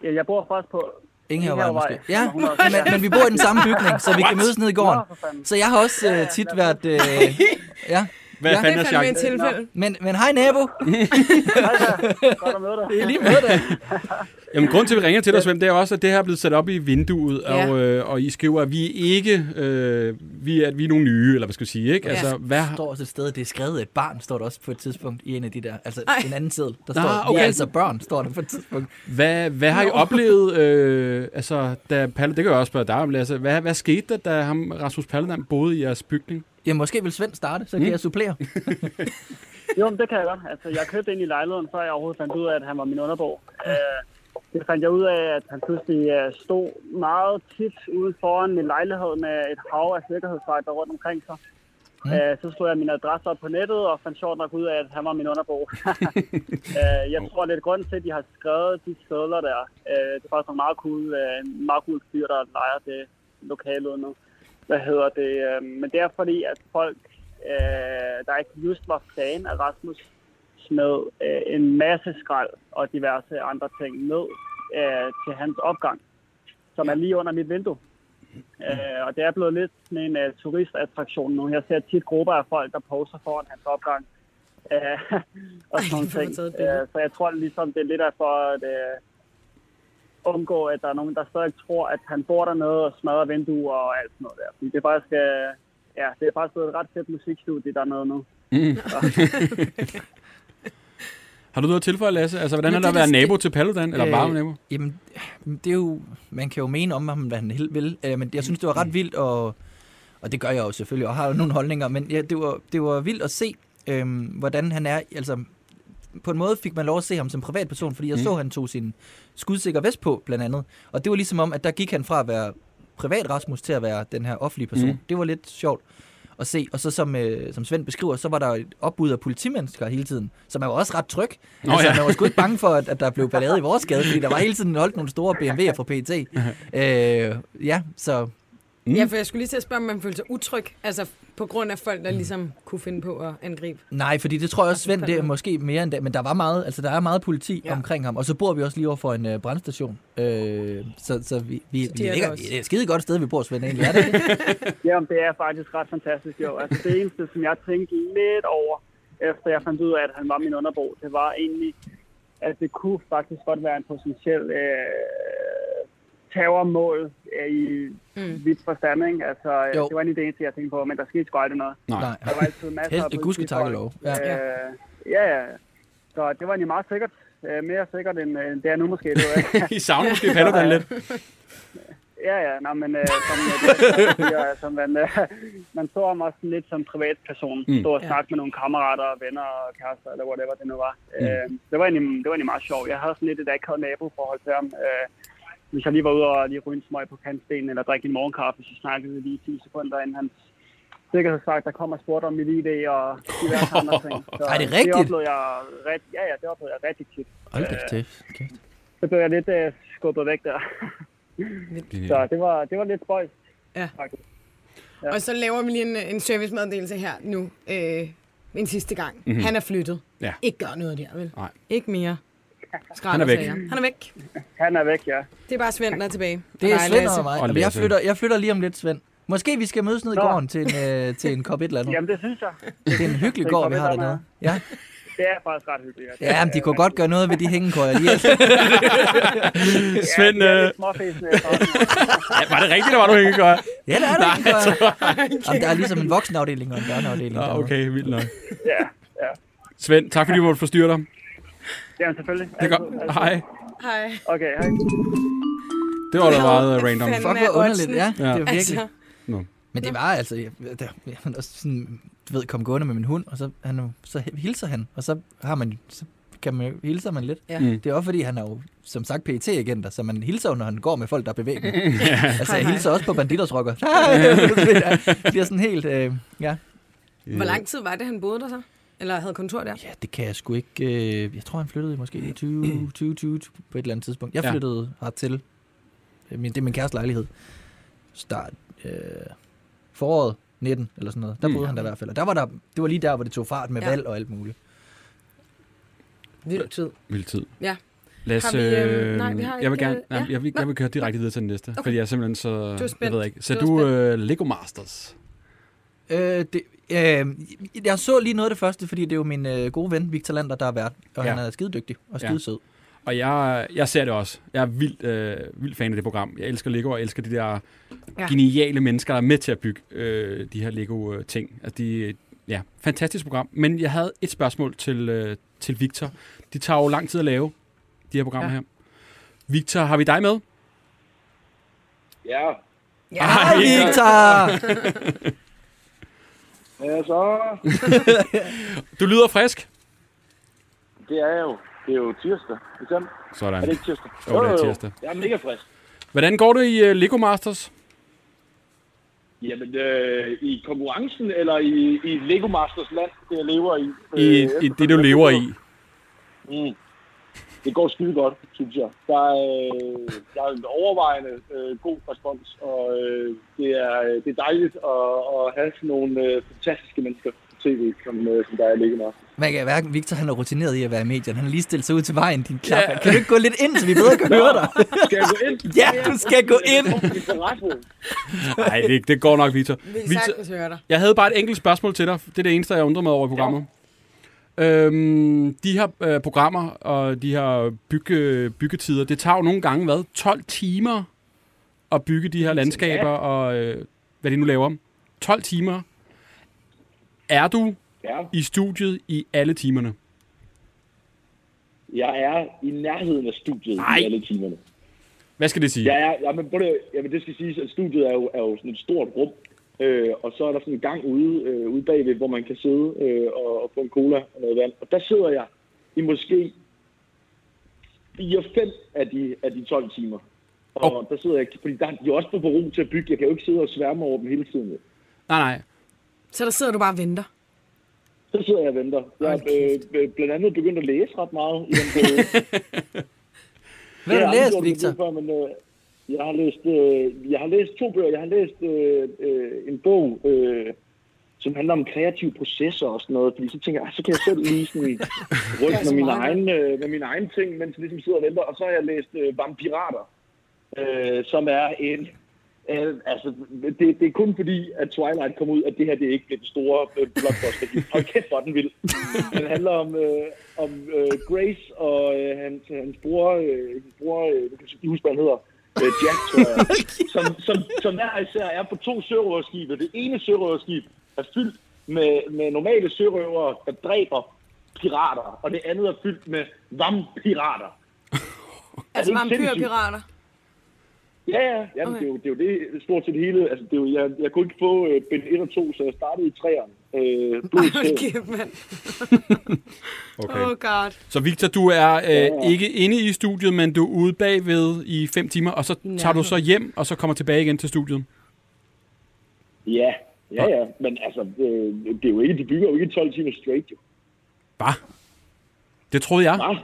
Speaker 6: jeg, jeg bor faktisk på...
Speaker 4: Ingehavevej
Speaker 6: Ingehavevej.
Speaker 4: måske. Ja,
Speaker 6: 100.
Speaker 4: men, men vi bor i den samme bygning, så vi kan
Speaker 2: What?
Speaker 4: mødes nede i gården.
Speaker 6: Nå, for fanden.
Speaker 4: Så jeg har også øh, tit været... Øh, ja.
Speaker 2: hvad
Speaker 4: Ja,
Speaker 2: ja,
Speaker 4: det
Speaker 2: fanden
Speaker 3: Det
Speaker 2: er
Speaker 3: er fandme et
Speaker 2: chancen?
Speaker 3: tilfælde.
Speaker 4: Men, men hej nabo,
Speaker 6: Godt at <laughs> møde dig.
Speaker 4: det er lige med dig.
Speaker 2: Jamen, grunden til, at vi ringer til dig, Svend, det er også, at det her er blevet sat op i vinduet,
Speaker 3: Ja.
Speaker 2: og, øh, og I skriver, at vi er ikke øh, vi er, at vi er nogle nye, eller hvad skal jeg sige, ikke?
Speaker 3: Ja.
Speaker 2: Altså, hvad,
Speaker 4: Der står også et sted, det er skrevet af et barn, står der også på et tidspunkt i en af de der... Altså
Speaker 3: Ej.
Speaker 4: en anden side, der
Speaker 2: Nå,
Speaker 4: står, ah, okay.
Speaker 2: okay.
Speaker 4: vi er altså børn, står der på et tidspunkt.
Speaker 2: hvad, hvad har I oplevet, øh, altså, da Palle, det kan jeg også spørge dig om, Lasse, hvad, hvad skete der, da ham, Rasmus Paludan boede i jeres bygning?
Speaker 4: Ja, måske vil Svend starte, så kan mm. jeg supplere.
Speaker 6: Jo, men det kan jeg godt. Altså, jeg købte ind i lejligheden, før jeg overhovedet fandt ud af, at han var min underbo. Øh, det fandt jeg ud af, at han pludselig øh, stod meget tit ude foran min lejlighed med et hav af sikkerhedsvagter rundt omkring sig.
Speaker 7: Mm. Øh, så slog jeg min adresse op på nettet, og fandt sjovt nok ud af, at han var min underbo. øh, jeg tror lidt grund til, at de har skrevet de sædler der. Øh, det er faktisk nogle meget cool, øh, meget cool fyr, der leger det lokale nu. Hvad hedder det? Øh, men det er fordi, at folk, øh, der ikke just var fan af Rasmus, smed øh, en masse skrald og diverse andre ting ned øh, til hans opgang, som er lige under mit vindue. Øh, og det er blevet lidt sådan en øh, turistattraktion nu. Jeg ser tit grupper af folk, der poser foran hans opgang. Øh, og sådan nogle
Speaker 3: hvor
Speaker 7: ting.
Speaker 3: taget et billede.
Speaker 7: Øh, så jeg tror ligesom, det er lidt af for at øh, undgå, at der er nogen, der stadig tror, at han bor dernede og smadrer vinduer og alt sådan noget der. Fordi det er faktisk... Øh, Ja, det er faktisk blevet et ret fedt musikstudie dernede nu.
Speaker 2: Har du noget at tilføje, Lasse? Altså, hvordan
Speaker 3: Men
Speaker 2: er der at
Speaker 3: det er
Speaker 2: være
Speaker 3: det-
Speaker 2: nabo til Paludan?
Speaker 4: Øh.
Speaker 2: Eller
Speaker 4: <laughs>
Speaker 2: bare nabo?
Speaker 4: Jamen, det er jo, man kan jo mene om ham, hvad han hel- vil, øh, men jeg synes, det var ret vildt, og, og det gør jeg jo selvfølgelig, og har jo nogle holdninger, men ja, det, var, det var vildt at se, øh, hvordan han er, altså på en måde fik man lov at se ham som privatperson, fordi jeg mm. så, at han tog sin skudsikker vest på, blandt andet, og det var ligesom om, at der gik han fra at være privat Rasmus til at være den her offentlige person.
Speaker 2: Mm.
Speaker 4: Mm. Det var lidt sjovt at se. Og så som, øh, som Svend beskriver, så var der jo et opbud af politimennesker hele tiden, som er jo også ret tryg.
Speaker 2: Nå
Speaker 4: altså,
Speaker 2: ja.
Speaker 4: man var sgu ikke bange for, at, at der blev ballade i vores gade, fordi der var hele tiden holdt nogle store BMW'er fra PT. øh, ja, så
Speaker 2: Mm.
Speaker 3: Ja, for jeg skulle lige til at spørge, om man følte sig utryg, altså på grund af folk, der
Speaker 2: Mm.
Speaker 3: ligesom kunne finde på at angribe.
Speaker 4: nej, fordi det tror jeg også, Svend, det er
Speaker 3: fandme.
Speaker 4: måske mere end det, men der var meget, altså der er meget politi ja.
Speaker 3: Ja.
Speaker 4: omkring ham, og så bor vi også lige over for en øh, brandstation. Øh, så, så vi, vi,
Speaker 3: Så de er
Speaker 4: vi
Speaker 3: der
Speaker 4: ligger,
Speaker 3: også.
Speaker 4: det er et skide godt sted, vi bor, Svend, egentlig. Er det ikke?
Speaker 7: Jamen, det er faktisk ret fantastisk, jo. Altså, det eneste, som jeg tænkte lidt over, efter jeg fandt ud af, at han var min underbo, det var egentlig, at det kunne faktisk godt være en potentiel øh, terrormål øh, i mm. vidt forstand, ikke? Altså,
Speaker 4: Jo.
Speaker 7: jo. det var en idé, til jeg tænkte på, men der skete sgu aldrig noget.
Speaker 4: Nej.
Speaker 7: Der var altid masser
Speaker 4: Helst
Speaker 7: af
Speaker 4: i gudske
Speaker 7: politifolk.
Speaker 4: takkelov. Ja.
Speaker 7: Øh, ja, ja. Så det var egentlig meget sikkert. Øh, mere sikkert, end øh, det er nu måske. Det var,
Speaker 2: I savner måske Paludan lidt.
Speaker 7: Ja, ja, nej, men øh, som, øh, siger, altså, man, øh, man så ham også sådan lidt som privatperson.
Speaker 2: Mm.
Speaker 7: Mm. Stod og
Speaker 3: Ja.
Speaker 7: snakke med nogle kammerater og venner og kærester, eller whatever det nu var. Mm. Øh, det, var egentlig, det var egentlig meget sjovt. Jeg havde sådan lidt et akavet naboforhold til ham. Øh, hvis jeg lige var ude og lige ryge en smøg på kantstenen eller drikke en morgenkaffe, så snakkede vi lige 10 sekunder, inden han sikkerhedsvagt, der kom og spurgte om mit ID og diverse andre
Speaker 4: <laughs>
Speaker 7: ting. Så øh,
Speaker 4: Ej, det er rigtigt?
Speaker 7: Det oplevede jeg, ret, ja, ja, det oplevede jeg rigtig tit.
Speaker 4: Hold da kæft. kæft.
Speaker 7: Så blev jeg lidt øh, skubbet væk der. Så det var, det var lidt spøjst.
Speaker 3: Ja.
Speaker 7: faktisk.
Speaker 3: Ja. Og så laver vi lige en, en servicemeddelelse her nu, øh, en sidste gang. Mm-hmm. Han er flyttet.
Speaker 2: Mhm. Ja.
Speaker 3: Ikke gør noget der, vel?
Speaker 2: Nej.
Speaker 3: Ikke mere. Skrald
Speaker 2: Han er
Speaker 3: og
Speaker 2: væk.
Speaker 3: sager. Han er væk.
Speaker 7: Han er væk, ja.
Speaker 3: Det er bare Svend, der er tilbage.
Speaker 4: Det er
Speaker 3: dig,
Speaker 4: Svend
Speaker 3: Lasse.
Speaker 4: og mig.
Speaker 2: Og
Speaker 4: Jamen, jeg,
Speaker 2: Lasse.
Speaker 4: flytter, jeg flytter lige om lidt, Svend. Måske vi skal mødes ned i
Speaker 7: Nå.
Speaker 4: gården til en, øh, til en kop et eller andet.
Speaker 7: Jamen, det synes jeg.
Speaker 4: det er en hyggelig
Speaker 7: det
Speaker 4: gård,
Speaker 7: kom
Speaker 4: vi
Speaker 7: lidt
Speaker 4: har
Speaker 7: af mig.
Speaker 4: dernede. Ja,
Speaker 7: Det er faktisk ret hyggeligt. Ja,
Speaker 4: ja men de kunne godt gøre noget ved de hængekøjer. De er,
Speaker 2: Svend,
Speaker 7: Ja, det er
Speaker 2: øh,
Speaker 7: lidt småfæsende efterhånden.
Speaker 2: ja, var det rigtigt, der var du ikke gør?
Speaker 4: ja, der er der hængekøjer. Jamen, der er ligesom en voksenafdeling og en børneafdeling.
Speaker 2: Ah,
Speaker 4: dernede.
Speaker 2: okay, vildt nok.
Speaker 7: ja, ja.
Speaker 2: Svend, tak fordi du måtte forstyrre dig.
Speaker 7: Jamen, selvfølgelig.
Speaker 2: Det er
Speaker 7: Altid,
Speaker 2: godt.
Speaker 7: altid.
Speaker 2: Hej.
Speaker 3: Hej.
Speaker 7: Okay, hej.
Speaker 2: Det var da meget øh,
Speaker 3: Hvad
Speaker 2: random.
Speaker 3: fanden
Speaker 4: Fuck,
Speaker 3: er
Speaker 4: hvor underligt.
Speaker 3: oddsen?
Speaker 4: Ja,
Speaker 2: Ja.
Speaker 4: det er virkelig.
Speaker 3: Altså,
Speaker 4: Men det var altså, jeg, der, jeg var også sådan, du ved, kom gående med min hund, og så, han, så hilser han, og så har man, så kan man, jo- hilser man lidt.
Speaker 3: Ja.
Speaker 2: Mm.
Speaker 4: Det er også fordi, han er jo som sagt pt agenter så man hilser jo, når han går med folk, der er
Speaker 3: <laughs>
Speaker 4: bevæbnet. altså, jeg
Speaker 3: Hej,
Speaker 4: hilser også på banditersrokker.
Speaker 3: <laughs>
Speaker 4: <laughs> det bliver sådan helt, øh, ja.
Speaker 2: Mm.
Speaker 3: hvor lang tid var det, han boede der så? Eller havde kontor der?
Speaker 4: ja, det kan jeg sgu ikke. Øh, jeg tror, han flyttede i
Speaker 3: <clears throat>
Speaker 4: måske 20, 20, 20 på et eller andet tidspunkt. Jeg
Speaker 2: Ja.
Speaker 4: flyttede ja. hertil. Øh, Min, det er min kæreste lejlighed. Start øh, foråret 19 eller sådan noget. Der
Speaker 2: Mm.
Speaker 4: boede han der i hvert fald. Og der var der, det var lige der, hvor det tog fart med
Speaker 3: Ja.
Speaker 4: ja. valg og alt muligt.
Speaker 3: Vild tid.
Speaker 2: Vild tid.
Speaker 3: Ja.
Speaker 2: Lad os,
Speaker 3: Har vi, øhm,
Speaker 2: øh,
Speaker 3: nej, vi har
Speaker 2: jeg vil
Speaker 3: ikke,
Speaker 2: gerne,
Speaker 3: øh,
Speaker 2: nej,
Speaker 3: ja.
Speaker 2: jeg, vil, jeg vil køre direkte videre til den næste, okay. fordi jeg er simpelthen så... Du Jeg
Speaker 3: spændt.
Speaker 2: ved ikke. Så
Speaker 3: Du er
Speaker 2: du øh, Lego Masters.
Speaker 4: Øh, det, øh, jeg så lige noget af det første, fordi det er jo min øh, gode ven, Victor Lander, der er vært. Og
Speaker 2: Ja.
Speaker 4: ja. han er skide dygtig og
Speaker 2: Ja.
Speaker 4: skide sød.
Speaker 2: Og jeg, jeg ser det også. Jeg er vildt, øh, vildt fan af det program. Jeg elsker Lego, og jeg elsker de der ja.
Speaker 3: Ja.
Speaker 2: geniale mennesker, der er med til at bygge øh, de her Lego-ting. Altså, de, ja, fantastisk program. Men jeg havde et spørgsmål til, øh, til Victor. De tager jo lang tid at lave, de her programmer ja.
Speaker 3: Ja.
Speaker 2: her. Victor, har vi dig med?
Speaker 8: Ja,
Speaker 3: Ja,
Speaker 4: Hej, Victor!
Speaker 8: ja så,
Speaker 2: Du lyder frisk.
Speaker 8: det er jo, det er jo tirsdag, ikke sandt?
Speaker 2: Sådan.
Speaker 8: Er det ikke tirsdag?
Speaker 2: Jo, det er tirsdag.
Speaker 8: Jeg er mega frisk.
Speaker 2: øh, Hvordan går det i uh, Lego Masters?
Speaker 8: Jamen, øh, i konkurrencen eller i, i Lego Masters land, det jeg lever i?
Speaker 2: I,
Speaker 8: Øh,
Speaker 2: i det, du lever i.
Speaker 8: Mm. Det går skide godt, synes jeg. Der er, øh, der er en overvejende øh, god respons, og øh, det, er, øh, det er dejligt at, at have sådan nogle øh, fantastiske mennesker på tv, som, øh, som der er i Lego Masters.
Speaker 4: Man kan hverken, Victor han er rutineret i at være i medierne. Han har lige stillet sig ud til vejen, din klap. Kan du ikke gå lidt ind, så vi bedre kan høre dig?
Speaker 8: Skal jeg gå ind?
Speaker 4: <laughs> Ja, du skal gå ind.
Speaker 2: Nej, det, det går nok, Victor.
Speaker 3: Vi kan
Speaker 2: Victor,
Speaker 3: sagtens høre dig.
Speaker 2: jeg havde bare et enkelt spørgsmål til dig. Det er det eneste, jeg undrer mig over i programmet. Øhm, de her øh, programmer og de her bygge, byggetider, det tager jo nogle gange, hvad, 12 timer at bygge de her landskaber og øh, hvad de nu laver. 12 timer. Er du
Speaker 8: Ja,
Speaker 2: i studiet i alle timerne?
Speaker 8: jeg er i nærheden af studiet
Speaker 2: Nej.
Speaker 8: i alle timerne.
Speaker 2: Hvad skal det sige?
Speaker 8: Ja, ja, ja men prøv det, jamen, det skal siges, at studiet er jo, er jo sådan et stort rum, øh, og så er der sådan en gang ude, øh, ude bagved, hvor man kan sidde øh, og, og få en cola og noget vand. Og der sidder jeg i måske 4-5 af de, af de 12 timer. Og
Speaker 2: Og-
Speaker 8: oh. der sidder jeg, fordi der er jo også på ro til at bygge. Jeg kan jo ikke sidde og sværme over dem hele tiden. jo.
Speaker 2: Nej, nej.
Speaker 3: Så der sidder du bare og venter.
Speaker 8: Så sidder jeg og venter. Jeg er øh, øh, blandt andet begyndt at læse ret meget i den periode.
Speaker 4: Hvad har
Speaker 8: Det
Speaker 4: du
Speaker 8: jeg
Speaker 4: læst,
Speaker 8: aldrig gjort
Speaker 4: Victor?
Speaker 8: før, men, øh, jeg, har læst, øh, jeg har læst to bøger. Jeg har læst øh, øh, en bog, øh, som handler om kreative processer og sådan noget. Fordi så tænker jeg, "Ej, så kan jeg selv
Speaker 4: <laughs>
Speaker 8: lige sådan rykke
Speaker 3: så
Speaker 8: med, mine
Speaker 3: meget.
Speaker 8: egne, øh, med mine egne ting, mens jeg ligesom sidder og venter. Og så har jeg læst øh, Vampirater, øh, som er en... Øh, altså, det, det er kun fordi, at Twilight kom ud, at det her det er ikke blev den store øh, blockbuster. Og kæft, hvor er den vild. Den handler om, øh, om øh, Grace og øh, hans, hans bror, øh, hans bror øh, jeg kan ikke huske, hvad han hedder, øh, Jack, tror jeg, som, som, som hver især er på to sørøverskibe. Det ene sørøverskib er fyldt med, med normale sørøvere, der dræber pirater, og det andet er fyldt med vampirater.
Speaker 3: Altså
Speaker 8: ikke sindssygt?
Speaker 3: vampyrpirater.
Speaker 8: Ja, ja, jamen,
Speaker 3: Okay.
Speaker 8: okay. det, er jo, det er jo det stort set hele. Altså, det er jo, jeg, jeg kunne ikke få øh, bind 1 og 2, så jeg startede i 3'eren. Øh,
Speaker 3: Ej,
Speaker 8: blod,
Speaker 3: hold
Speaker 8: okay.
Speaker 3: kæft, mand.
Speaker 2: <laughs> Okay.
Speaker 3: Oh god.
Speaker 2: Så Victor, du er øh, ikke inde i studiet, men du er ude bagved i 5 timer, og så tager du så hjem, og så kommer tilbage igen til studiet.
Speaker 8: Ja, ja, ja. Men altså, øh, det er jo ikke, de bygger jo ikke 12 timer straight, jo.
Speaker 2: Hvad? Det troede jeg.
Speaker 8: Ah,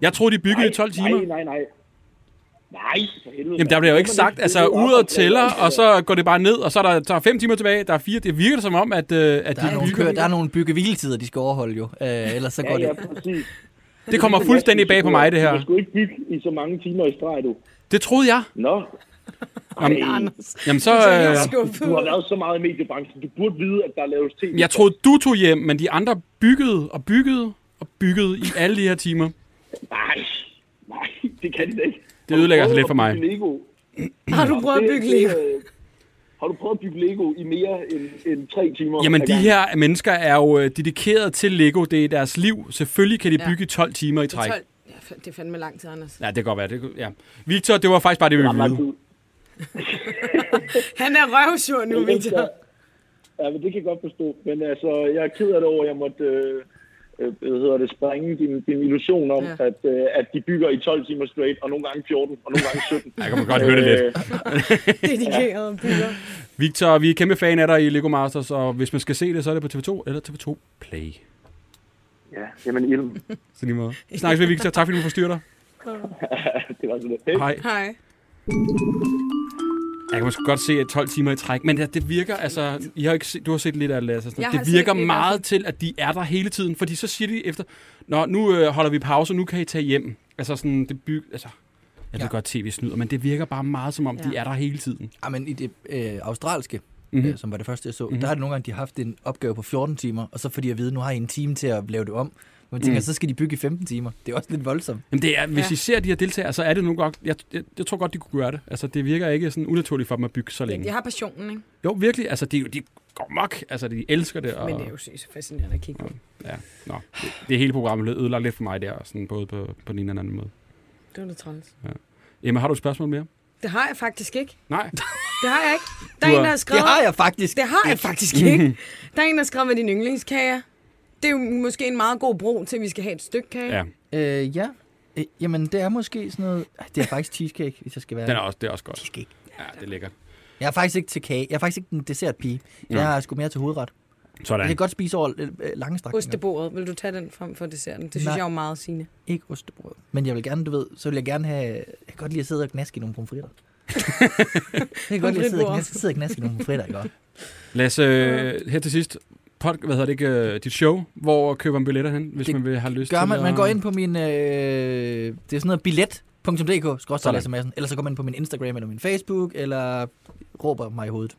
Speaker 2: Jeg troede, de byggede i
Speaker 8: nej,
Speaker 2: 12 timer.
Speaker 8: Nej, nej, nej. Nej, for helvede.
Speaker 2: Jamen, der
Speaker 8: mand.
Speaker 2: bliver jo
Speaker 8: Det
Speaker 2: ikke
Speaker 8: må
Speaker 2: sagt,
Speaker 8: man
Speaker 2: altså
Speaker 8: ikke bygge
Speaker 2: uret
Speaker 8: op,
Speaker 2: tæller,
Speaker 8: altså.
Speaker 2: og så går det bare ned, og så er der, der er fem timer tilbage, der er fire. Det virker som om, at, øh, at
Speaker 4: Der er
Speaker 2: de
Speaker 4: nogle,
Speaker 2: bygger.
Speaker 4: kø, der er nogle byggehviletider, de skal overholde jo. Øh, ellers så går
Speaker 8: Ja,
Speaker 4: det.
Speaker 8: ja, præcis.
Speaker 2: Det kommer fuldstændig bag på mig, det
Speaker 8: Du
Speaker 2: her.
Speaker 8: skulle ikke bygge i så mange timer i streg, du.
Speaker 2: Det troede jeg.
Speaker 8: Nå. Ej,
Speaker 2: Jamen, så...
Speaker 3: Så er jeg
Speaker 2: Øh,
Speaker 3: skuffet.
Speaker 8: du har været så meget i mediebranchen. Du burde vide, at der laves tv.
Speaker 2: jeg troede, du tog hjem, men de andre byggede og byggede og byggede i alle de her timer.
Speaker 8: Nej, nej, det kan det ikke.
Speaker 2: Det ødelægger altså lidt for mig.
Speaker 8: Lego.
Speaker 3: Har du prøvet at
Speaker 8: Det-
Speaker 3: bygge
Speaker 8: det,
Speaker 3: Lego?
Speaker 8: øh, Har du prøvet at bygge Lego i mere end, end tre timer?
Speaker 2: Jamen,
Speaker 8: ad
Speaker 2: de
Speaker 8: gangen?
Speaker 2: her mennesker er jo øh, dedikeret til Lego. Det er deres liv. Selvfølgelig kan de
Speaker 3: Ja.
Speaker 2: bygge i 12 timer i træk.
Speaker 3: 12. Ja, f- det er fandme lang tid, Anders.
Speaker 2: Ja, det kan godt være. Det, kunne- ja. Victor, det var faktisk bare det, vi
Speaker 8: Der er
Speaker 2: ville
Speaker 8: lang
Speaker 2: vide.
Speaker 8: tid.
Speaker 3: Han er røvsur nu, Victor.
Speaker 8: altså, Ja, men det kan jeg godt forstå. Men altså, jeg er ked af det over, at jeg måtte øh, øh, hvad hedder det, sprænge din, din illusion om,
Speaker 3: Ja.
Speaker 8: ja. at, øh, at de bygger i 12 timer straight, og nogle gange 14, og nogle gange 17.
Speaker 2: Jeg kan man godt høre det lidt.
Speaker 8: Øh,
Speaker 3: Dedikerede bygger.
Speaker 2: Victor, vi er kæmpe fan af dig i Lego Masters, og hvis man skal se det, så er det på TV2 eller TV2 Play.
Speaker 8: ja, jamen ilden.
Speaker 2: Så lige måde. Vi Snakkes ved, Victor. Tak fordi du forstyrrer dig.
Speaker 8: <laughs> Det var sådan lidt. Hey.
Speaker 2: Hej.
Speaker 3: Hej.
Speaker 2: Jeg kan måske godt se, at 12 timer i træk, men det, det virker altså... I har ikke set, du har set lidt af Lasse. og Sådan.
Speaker 3: Jeg
Speaker 2: noget.
Speaker 3: har
Speaker 2: Det
Speaker 3: set
Speaker 2: virker
Speaker 3: lidt af altså.
Speaker 2: meget til, at de er der hele tiden, fordi så siger de efter... Nå, nu øh, holder vi pause, og nu kan I tage hjem. Altså sådan, det byg... Altså, jeg ved
Speaker 4: Ja.
Speaker 2: godt, tv snyder, men det virker bare meget som om, ja. de
Speaker 3: Ja.
Speaker 2: er der hele tiden.
Speaker 4: Ja, men i det øh, australske,
Speaker 2: Mhm.
Speaker 4: mm-hmm. øh, som var det første, jeg så, mm-hmm. der har det nogle gange, de har haft en opgave på 14 timer, og så fordi jeg ved, nu har I en time til at lave det om. Man tænker, så skal de bygge i 15 timer. Det er også lidt voldsomt.
Speaker 2: Jamen det er, hvis
Speaker 3: Ja.
Speaker 2: I ser de her deltagere, så er det nu godt... Jeg, jeg, jeg tror godt, de kunne gøre det. Altså, det virker ikke sådan unaturligt for dem at bygge så længe.
Speaker 3: Jeg har passionen, ikke?
Speaker 2: Jo, virkelig. Altså, de, de går mok. Altså, de elsker det. Og,
Speaker 3: Men det er jo så fascinerende at kigge på.
Speaker 2: Ja, nå. Det, det hele programmet blev ødelagt lidt for mig der, sådan både på, på den ene og den anden måde.
Speaker 3: Det er jo lidt træls.
Speaker 2: Emma, har du et spørgsmål mere?
Speaker 3: Det har jeg faktisk ikke.
Speaker 2: Nej.
Speaker 3: Det har jeg ikke. Der
Speaker 2: Du
Speaker 3: er en,
Speaker 2: har-
Speaker 3: der har
Speaker 4: Det
Speaker 3: skrevet...
Speaker 4: har jeg faktisk.
Speaker 3: Det har jeg faktisk
Speaker 2: <laughs>
Speaker 3: ikke. Der er en, der har skrevet med din yndlingskager. Det er jo måske en meget god bro til, at vi skal have et stykke kage.
Speaker 2: Ja,
Speaker 4: Øh, ja. Øh, jamen, det er måske sådan noget... Ej, Det er faktisk cheesecake, hvis jeg skal være...
Speaker 2: den er også, det er også godt.
Speaker 4: cheesecake.
Speaker 2: Ja, det er lækkert.
Speaker 4: Jeg er faktisk ikke til kage. Jeg er faktisk ikke en dessertpige.
Speaker 2: Nå.
Speaker 4: Jeg er sgu mere til hovedret. Jeg kan
Speaker 2: Sådan.
Speaker 4: godt spise over øh, øh, lange strækninger.
Speaker 3: Ostebordet, vil du tage den frem for desserten? Det synes
Speaker 4: Nej.
Speaker 3: jeg er jo meget sigende.
Speaker 4: Ikke ostebrød. Men jeg vil gerne, du ved, så vil jeg gerne have... Jeg kan godt lide at sidde og gnaske i nogle pomfritter. jeg kan godt lide at sidde og
Speaker 3: Pomfritbord.
Speaker 4: gnaske, sidde og gnaske i nogle pomfritter, ikke også?
Speaker 2: Lasse, øh, her til sidst, pod, hvad hedder det ikke, øh, dit show, hvor køber man billetter hen, hvis
Speaker 4: Det
Speaker 2: man vil have lyst
Speaker 4: Gør
Speaker 2: til
Speaker 4: man,
Speaker 2: at...
Speaker 4: man går ind på min, øh, det er sådan noget billet.dk, skråstrej
Speaker 2: Sådan.
Speaker 4: Lasse Madsen, eller så går man ind på min Instagram eller min Facebook, eller råber mig i hovedet.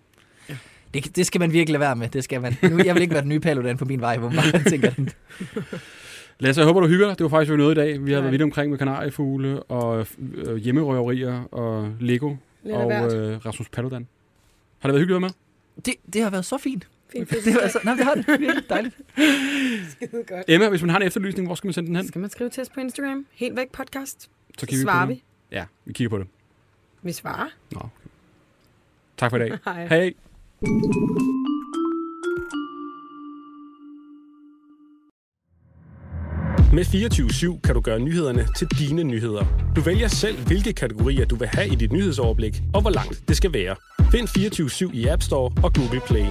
Speaker 4: Det, det skal man virkelig lade være med, det skal man. Nu, jeg vil ikke være den nye paludan på min vej, hvor man <laughs> tænker den.
Speaker 2: Lasse, jeg håber, du hygger dig. Det var faktisk jo noget i dag. Vi har
Speaker 3: Ja.
Speaker 2: været vidt omkring med kanariefugle og øh, hjemmerøverier og Lego
Speaker 3: Lidt af
Speaker 2: og
Speaker 3: hvert.
Speaker 2: øh, Rasmus Paludan. Har det været hyggeligt at være med?
Speaker 4: Det, det har været så fint.
Speaker 3: Fint
Speaker 4: Det,
Speaker 2: <laughs>
Speaker 4: var
Speaker 3: fødselsdag.
Speaker 4: så, nej, det har det. Virkelig dejligt.
Speaker 3: Skide godt.
Speaker 2: Emma, hvis man har en efterlysning, hvor skal man sende den hen?
Speaker 3: Skal man skrive til os på Instagram? Helt væk podcast.
Speaker 2: Så
Speaker 3: Så svarer
Speaker 2: på den.
Speaker 3: vi.
Speaker 2: Ja, vi kigger på det.
Speaker 3: Vi svarer.
Speaker 2: Nå. okay. Tak for i dag.
Speaker 3: <laughs> Hej.
Speaker 2: Hej.
Speaker 1: Med 24-7 kan du gøre nyhederne til dine nyheder. Du vælger selv, hvilke kategorier du vil have i dit nyhedsoverblik, og hvor langt det skal være. Find 24-7 i App Store og Google Play.